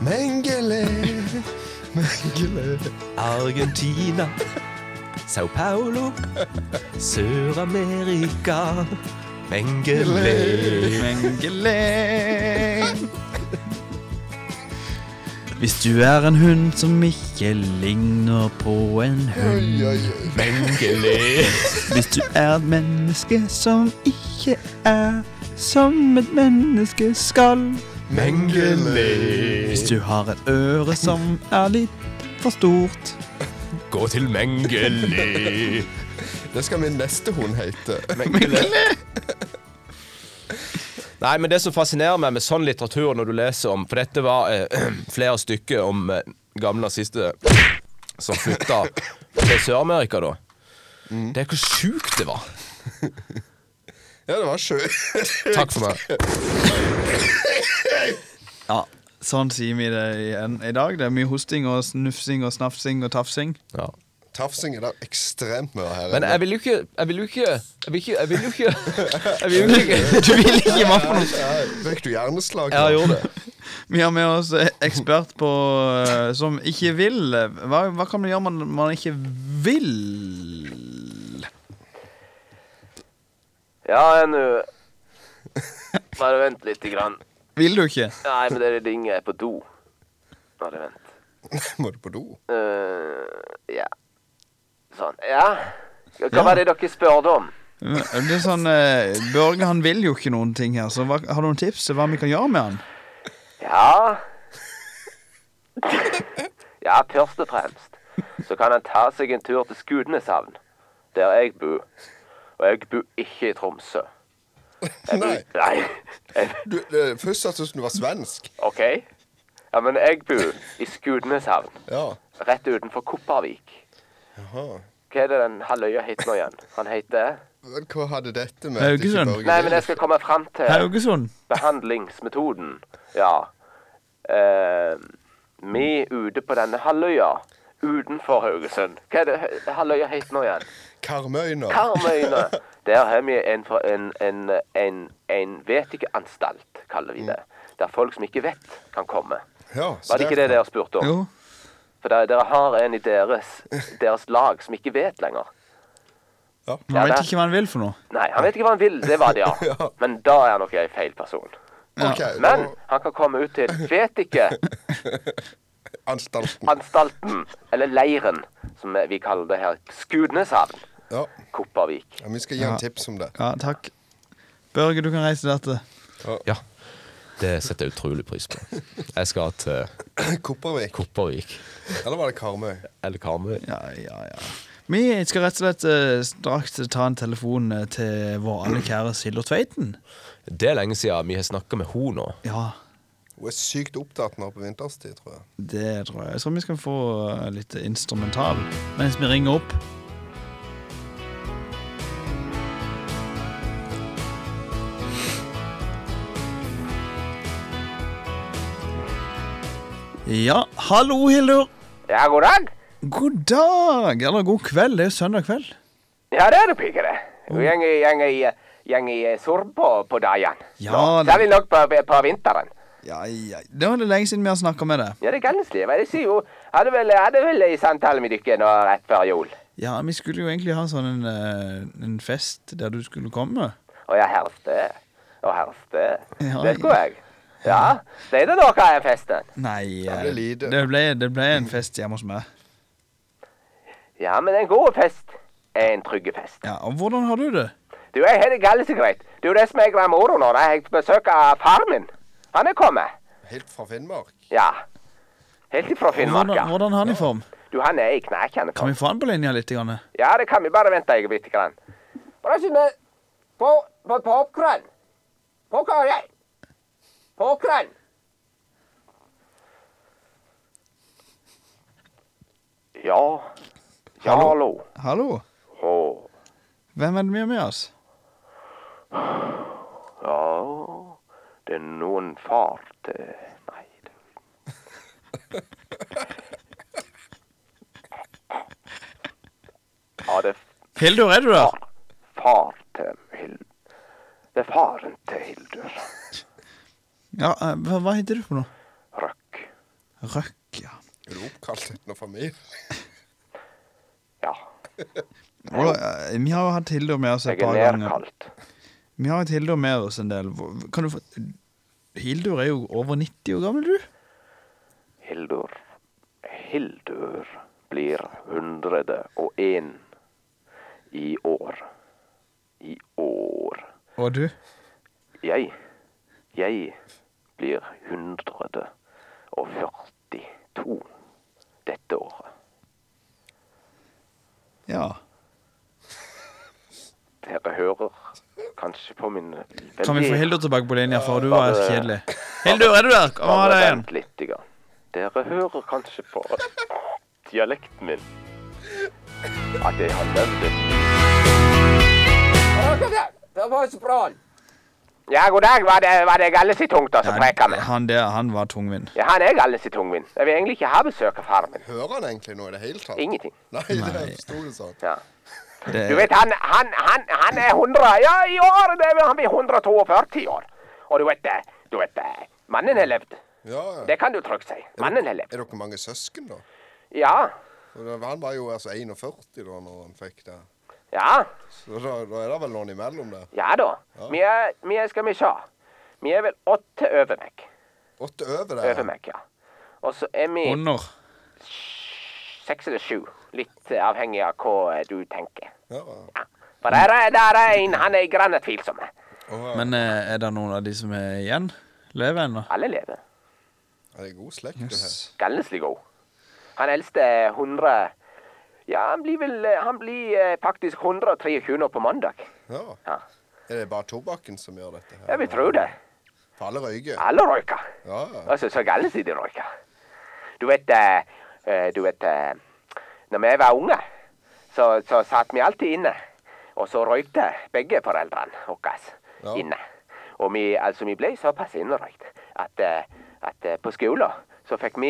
Mengele, Mengele Argentina, Sao Paulo, Sør-Amerika, Mengele. Mengele. Hvis du er en hund som ikke ligner på en hund. Oi, oi, oi. Mengele. Hvis du er et menneske som ikke er som et menneske skal. Mengele. Hvis du har et øre som er litt for stort Gå til Mengele. Det skal min neste hund hete. Nei, men det som fascinerer meg med sånn litteratur når du leser om For dette var eh, flere stykker om eh, gamle nazister som flytta til Sør-Amerika da. Det er hvor sjukt det var. Ja, det var sjø. Takk for meg. Ja, sånn sier vi det igjen i dag. Det er mye hosting og snufsing og snafsing og tafsing. Ja. Tafsing er det ekstremt mye her. Men inne. jeg vil jo ikke Jeg vil jo ikke Jeg vil ikke Jeg vil jo ikke Jeg vil jo ikke Du vil ikke hva for noe? Ja, Fikk du hjerneslag? Ja, jeg gjorde det. Vi har med oss ekspert på eh, som ikke vil. Hva, hva kan man gjøre man, man ikke vil? Ja, nå Bare vent litt. Grann. Vil du ikke? Nei, men det ringer jeg på do. Bare vent. Må du på do? Eh, ja. Sånn. Ja. Hva var det dere spurte om? Det er sånn, eh, Børge han vil jo ikke noen ting her, så hva, har du noen tips til hva vi kan gjøre med han? Ja Ja, først og fremst så kan han ta seg en tur til Skudeneshavn, der jeg bor. Og jeg bor ikke i Tromsø. Jeg bor, Nei. nei. Jeg, Du, det, først hørtes det ut som du var svensk. OK? Ja, men jeg bor i Skudeneshavn, Ja. rett utenfor Kopervik. Jaha. Hva er det den halvøya heter nå igjen? Han heter Men Hva hadde dette med Haugesund. Nei, men jeg skal komme fram til Haugesund. behandlingsmetoden. Ja. Eh, vi er ute på denne halvøya utenfor Haugesund. Hva er det hø- halvøya heter nå igjen? Karmøyna. Karmøyene. Der har vi en, for- en, en, en, en vet ikke-anstalt, kaller vi det. Der folk som ikke vet, kan komme. Ja, så Var det ikke det dere spurte om? Jo. For der- dere har en i deres, deres lag som ikke vet lenger. Man vet ikke hva han vil for noe. Nei, han vet ikke hva han vil. Det var det, ja. Men da er han nok en feil person. Ok, Men da- han kan komme ut til vet ikke Anstalten. anstalten, eller leiren, som vi kaller det her, Skudeneshavn, Ja. Kopervik. ja, Vi skal gi en tips om det. Ja, takk. Børge, du kan reise dette. Ja. Det setter jeg utrolig pris på. Jeg skal til Kopervik. Kopervik. Eller var det Karmøy? Eller Karmøy. Ja, ja, ja. Vi skal rett og slett eh, straks ta en telefon eh, til vår alle kjære Silje Tveiten. Det er lenge siden vi har snakka med henne nå. Ja, Hun er sykt opptatt nå på vinterstid, tror jeg. det tror jeg. Jeg tror vi skal få eh, litt instrumental mens vi ringer opp. Ja, hallo, Hildur. Ja, god dag. God dag, eller god kveld. Det er jo søndag kveld. Ja, det er det, piker det. Mm. Hun gjeng i, gjeng i, gjeng i sorg på, på dagen. Ja, Nå, det- Særlig nok på, på vinteren. Ja, ja. Det var det lenge siden vi har snakka med deg. Ja, det kan slik. Jeg sier jo, hadde vel, hadde vel en samtale med dere nå rett før jul. Ja, vi skulle jo egentlig ha sånn en, eh, en fest der du skulle komme. Og jeg helste, og helste. Ja, det skulle jeg. Ja, det er det noe av festen. Nei, Ja, eh, det lider. det, ble, det ble en fest hjemme hos meg. Ja, men en god fest er en trygg fest. Ja, og Hvordan har du det? Du, jeg har det galt så greit. Det er jo det som er greia med moro nå. Jeg besøker far min. Han er kommet. Helt fra Finnmark. Ja. Helt ifra Finnmark, Hvordan, ja. hvordan er han i form? Du, han er i knekene. Kan vi få han på linja litt? Grann? Ja, det kan vi bare vente jeg litt. Grann. Bare ikke med på, på popkorn. Popkorn, jeg. Popkorn. Ja. Ja, Hallo. hallo. Hallo? Å, Hvem er det vi har med oss? ja. Det er noen far til... Nei, det... Ja, det... Hildur, er du der? far til Hildur. Det er faren til Hildur. Ja, eh, Hva, hva heter du for noe? Røkk. Røkk, ja. Er du oppkalt etter noen familie? Ja. Og, eh, vi har jo hatt Hildur med oss et Jeg er par ganger. nedkalt. Vi har hatt Hildur med oss en del. Hvor- Kan du få Hildur er jo over 90 år gammel, du. Hildur. Hildur blir 101 i år. I år. Og du? Jeg Jeg blir 142 dette året. Ja. Dere hører kanskje på min veldig Kan vi få Hildur tilbake på linja, for du var helt kjedelig. Hildur, er du der? Kom og ha deg igjen. Vent litt. grann. Dere hører kanskje på dialekten min. Ja, det har levd litt. Ja, god dag. Var det, var det Galles i tungta som preka Ja, med? han der, han var tungvint. Ja, han er Galles i tungvin. Jeg vil egentlig ikke ha besøk av faren min. Hører han egentlig noe i det hele tatt? Ingenting. Nei, det sto det sånn. Ja. Det, Du vet, han, han, han, han er 100 Ja, i år det vil han bli 142 år. Og du vet det. Du vet det. Mannen har levd. Ja, ja. Det kan du trygt si. Mannen har levd. Er dere mange søsken, da? Ja. For det- Han var jo altså 41 da når han fikk det. Ja. Så da, da er det vel noen imellom der. Ja da. Vi er, vi er skal vi se. Vi er vel åtte over meg. Åtte over der. Over meg, ja. Og så er vi Under. seks eller sju. Litt eh, avhengig av hva eh, du tenker. Ja, ja. Ja. For der er, der er en, han er grann tvilsom. Å, ja. Men eh, er det noen av de som er igjen? Lever ennå? Alle lever. Ja, det er god slekt, du her. Gallenslig god. Han eldste er 100 Ja, han blir vel eh, Han blir eh, faktisk 123 år på mandag. Ja. Ja. Er det bare tobakken som gjør dette? her? Jeg vil tro det. For alle røyker? Alle røyker. Ja, ja. Altså, så Gallenslig de røyker. Du vet eh, eh, Du vet eh, Når vi var unge, så, så satt vi alltid inne. Og så røykte begge foreldrene våre Ja. inne. Og vi, altså, vi ble såpass innerøykt at, eh, at eh, på skolen så fikk vi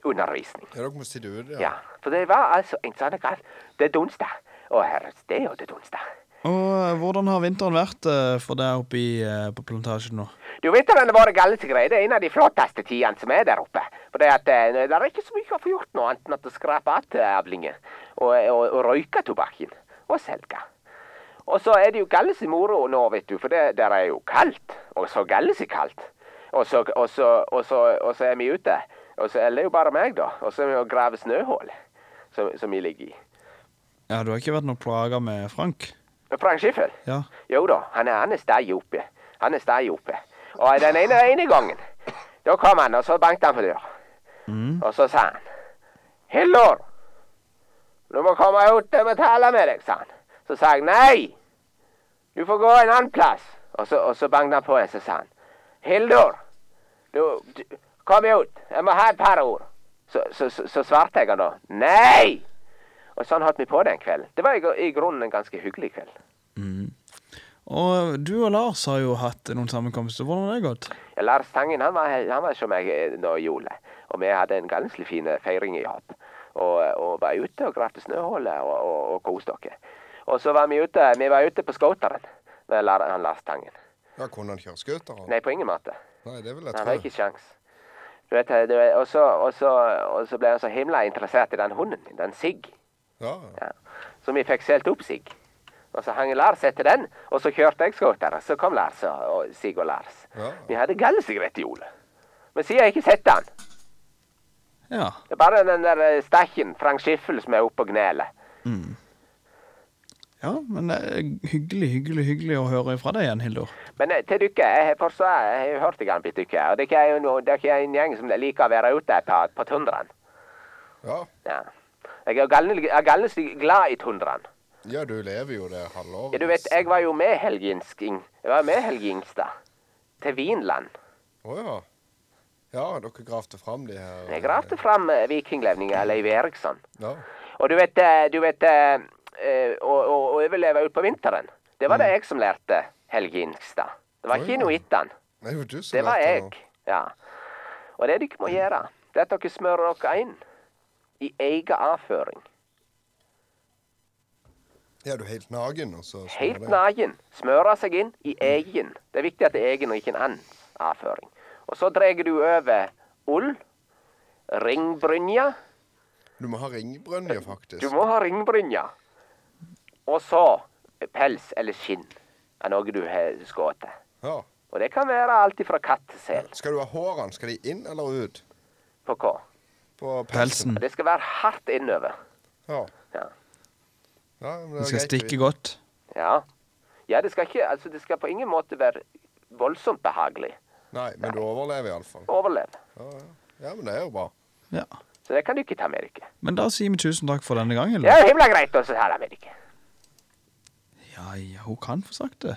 uteundervisning. Ja, dere må sitte ute, ja. Ja, for det var altså en sånn grad. Det er onsdag. Og herres, det er jo det onsdag. Og eh, hvordan har vinteren vært eh, for deg oppe i, eh, på plantasjen nå? Du vet at den våre gallete greie, det er en av de flotteste tidene som er der oppe. For det, at, eh, det er ikke så mye å få gjort nå, annet enn at å skrape attavlinger og, og, og røyke tobakken og selge. Og så er det jo galles i moro nå, vet du, for det der er jo kaldt. Og så galles i kaldt. Og så, og, så, og, så, og så er vi ute. Og så er det jo bare meg, da. Og så er vi og graver snøhull som, som vi ligger i. Ja, Du har ikke vært noe plaga med Frank? Frank Schiffel? Ja. Jo da, han er, han er stadig oppe. Han er stadig oppe. Og den ene, ene gangen, da kom han, og så bankte han på døra. Og så sa han, Hillor, du må komme ut og betale med deg, sa han. Så sa jeg, nei, du får gå en annen plass. Og så, og så bankte han på en, så sa han, Hildor, du, du, kom ut, jeg må ha et par ord. Så, så, så, så svarte jeg han da, nei! Og sånn holdt vi på den kvelden. Det var i, gr- i grunnen en ganske hyggelig kveld. Og du og Lars har jo hatt noen sammenkomster. Hvordan har det gått? Ja, Lars Tangen han var, han var som meg eh, nå i jula, og vi hadde en ganske fin eh, feiring i Hap. Og, eh, og var ute og gravde snøhuller og, og, og koste oss. Og så var vi ute vi var ute på skoteren med Lar- han Lars Tangen. Ja, Kunne han kjøre scooter? han? Nei, på ingen måte. Nei, det vil jeg Han hadde tro. ikke sjans. Du vet, eh, du vet, og, så, og, så, og så ble han så himla interessert i den hunden min, den Sigg. Ja, ja. Ja. Så vi fikk solgt opp Sigg. Og så hang Lars etter den, og så kjørte jeg skoteren. Så kom Lars og, og Sigg og Lars. Ja. Vi hadde gallesigarett i jula. Men siden jeg ikke sett han. Ja. Det er bare den der eh, stakken, Frank Schiffel, som er oppe og gneler. ja, men det er hyggelig, hyggelig hyggelig å høre ifra deg igjen, Hildur. Men eh, til dere, jeg har forstå- jeg har jo hørt dere litt, dere. Og dere er jo noe, dere er en gjeng som liker å være ute på, på tundraen. ja. Ja. Jeg er galne- er galneslig glad i tundraen. Ja, du lever jo det halve året. Ja, du vet, jeg var jo med Helginsking. Jeg var med Helge Ingstad. Til Vinland. Å ja. Ja, dere gravde fram de her eh, Jeg gravde fram eh, vikinglevningen Leiv Eriksson. Ja. Og du vet, eh, du vet eh, eh, å, å, å overleve utpå vinteren. Det var Mm. det jeg som lærte Helge Ingstad. Det var Å, ja. ikke inuittene. Det er jo du som Det var lærte Mm. jeg. nå. Ja. Og det dere må gjøre, det er at dere smører dere inn i egen avføring. Ja, du er helt nagen, og så står Helt det- Mm. naken. Smøre seg inn i egen. Det er viktig at det er egen og ikke en annens avføring. Og så drar du over ull, ringbrynja Du må ha ringbrønje, faktisk. Du må ha ringbrynja. Og så pels eller skinn er noe du har skutt. Ja. Og det kan være alt ifra katt til sel. Skal du ha hårene? Skal de inn eller ut? På hva? På pelsen? Pelsen. Det skal være hardt innover. Ja. Ja. ja men det Den er skal greit. stikke godt. Ja. ja, det skal ikke Altså, det skal på ingen måte være voldsomt behagelig. Nei, men du overlever iallfall. Overlev. Ja, ja. ja, men det er jo bra. Ja. Så det kan du ikke ta med dere. Men da sier vi tusen takk for denne gangen. Det da. er jo himla greit å ta det med dere. Ja, ja, hun kan få sagt det.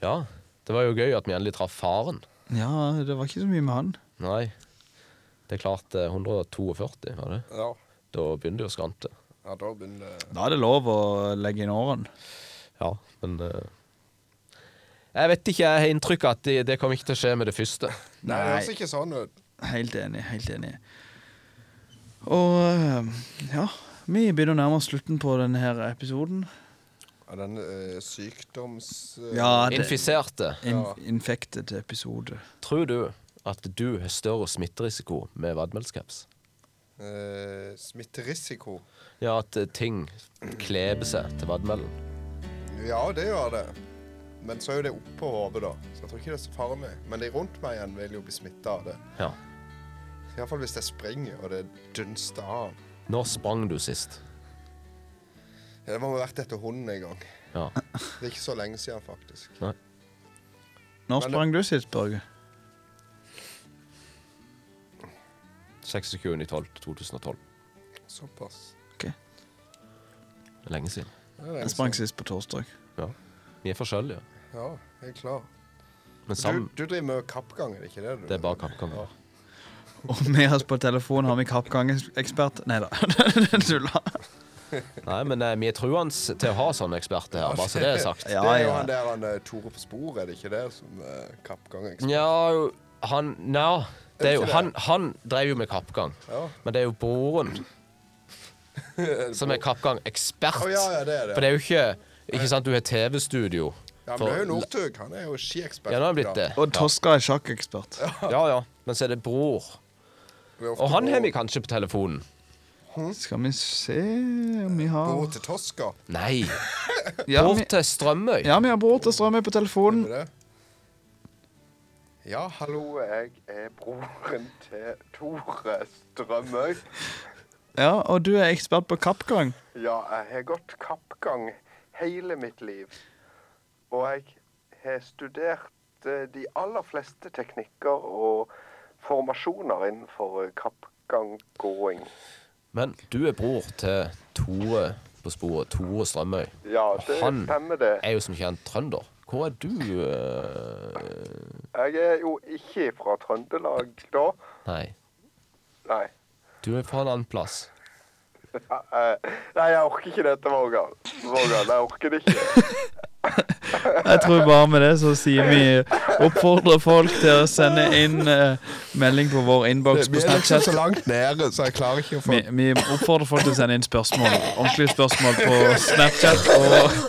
Ja, det var jo gøy at vi endelig traff faren. Ja, det var ikke så mye med han. Nei, det er klart eh, 142, var det? Ja, Da begynner det å skrante. ja da begynner det Da er det lov å legge inn årene. Ja, men eh, Jeg vet ikke, jeg har inntrykk av at det, det kommer ikke til å skje med det første. Nei, det høres ikke sånn ut. Helt enig, helt enig. Og eh, ja, vi begynner å nærme oss slutten på denne her episoden. Ja, den eh, sykdoms... eh, Ja, det- Infiserte. In Ja. infected episode. Tror du at du har større smitterisiko med vadmelscaps? eh, smitterisiko. Ja, at eh, ting kleber seg til vadmelen. Ja, det gjør det. Men så er jo det oppå hodet, da. Så jeg tror ikke det er så farlig. Men de rundt meg igjen vil jo bli smitta av det. Ja. Iallfall hvis jeg springer, og det dunster av. Når sprang du sist? Ja, det må ha vært etter hunden en gang. Ja. Det er ikke så lenge siden, faktisk. Når Men- sprang du sist, Børge? 26.12.2012. Såpass. Det er Lenge siden. Det er lenge Jeg sprang siden. sist på torsdag. Ja. Vi er forskjellige, Ja, jeg er klar. men Du, sammen. du driver med kappgang, er det ikke det? Du? Det er bare kappkamper. Og med oss på telefon har vi kappgangekspert Nei da, tulla. Nei, men eh, vi er truende til å ha sånne eksperter her, bare så det er sagt. Ja, det er jo ja. han der han eh, Tore på sporet, er det ikke det? Som uh, kappgang eks- Nja, jo, han Nja, det er jo Ikke det? Han, han drev jo med kappgang, Ja. men det er jo broren som er kappgangekspert. Å, ja, ja, det er det. For det er jo ikke Ikke sant, du har TV-studio. Ja, men for- det er jo Northug. Han er jo skiekspert. Ja, nå har han blitt da. det. Og Toska er sjakkekspert. Ja, ja. Men så er det bror. Det er ofte Og han har bro- vi kanskje på telefonen. Skal vi se om vi bro har til Toska. Nei. Ja, Bror vi, til Strømøy. ja, vi har bror til Strømøy på Er telefonen. det det? Ja, hallo. Hallo, jeg er broren til Tore Strømøy. Ja, Og du er ekspert på kappgang. Ja, jeg har gått kappgang hele mitt liv. Og jeg har studert eh, de aller fleste teknikker og formasjoner innenfor eh, kappganggåing. Men du er bror til Tore på sporet. Tore Strømøy. Ja, Og det han- stemmer det. Er jo som kjent trønder. Hvor er du eh, Jeg er jo ikke fra Trøndelag da. Nei. Nei, Du er fra en annen plass. eh, nei jeg orker ikke dette, Vågan. Vågan, jeg orker det ikke. Jeg tror bare med det så sier vi oppfordrer folk til å sende inn eh, melding på vår innboks på Vi er liksom Snapchat. så langt nede, så jeg klarer ikke å få Vi, vi oppfordrer folk til å sende inn spørsmål ordentlige spørsmål på Snapchat og,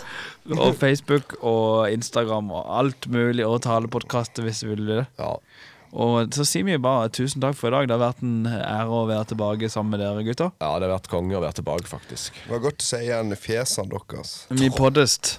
og Facebook og Instagram og alt mulig, og talepodkastet hvis du vil det. Ja. Og så sier vi bare tusen takk for i dag. Det har vært en ære å være tilbake sammen med dere, gutter. Ja, det har vært konge å være tilbake, faktisk. Det var godt å se igjen fjesene deres. Vi poddest.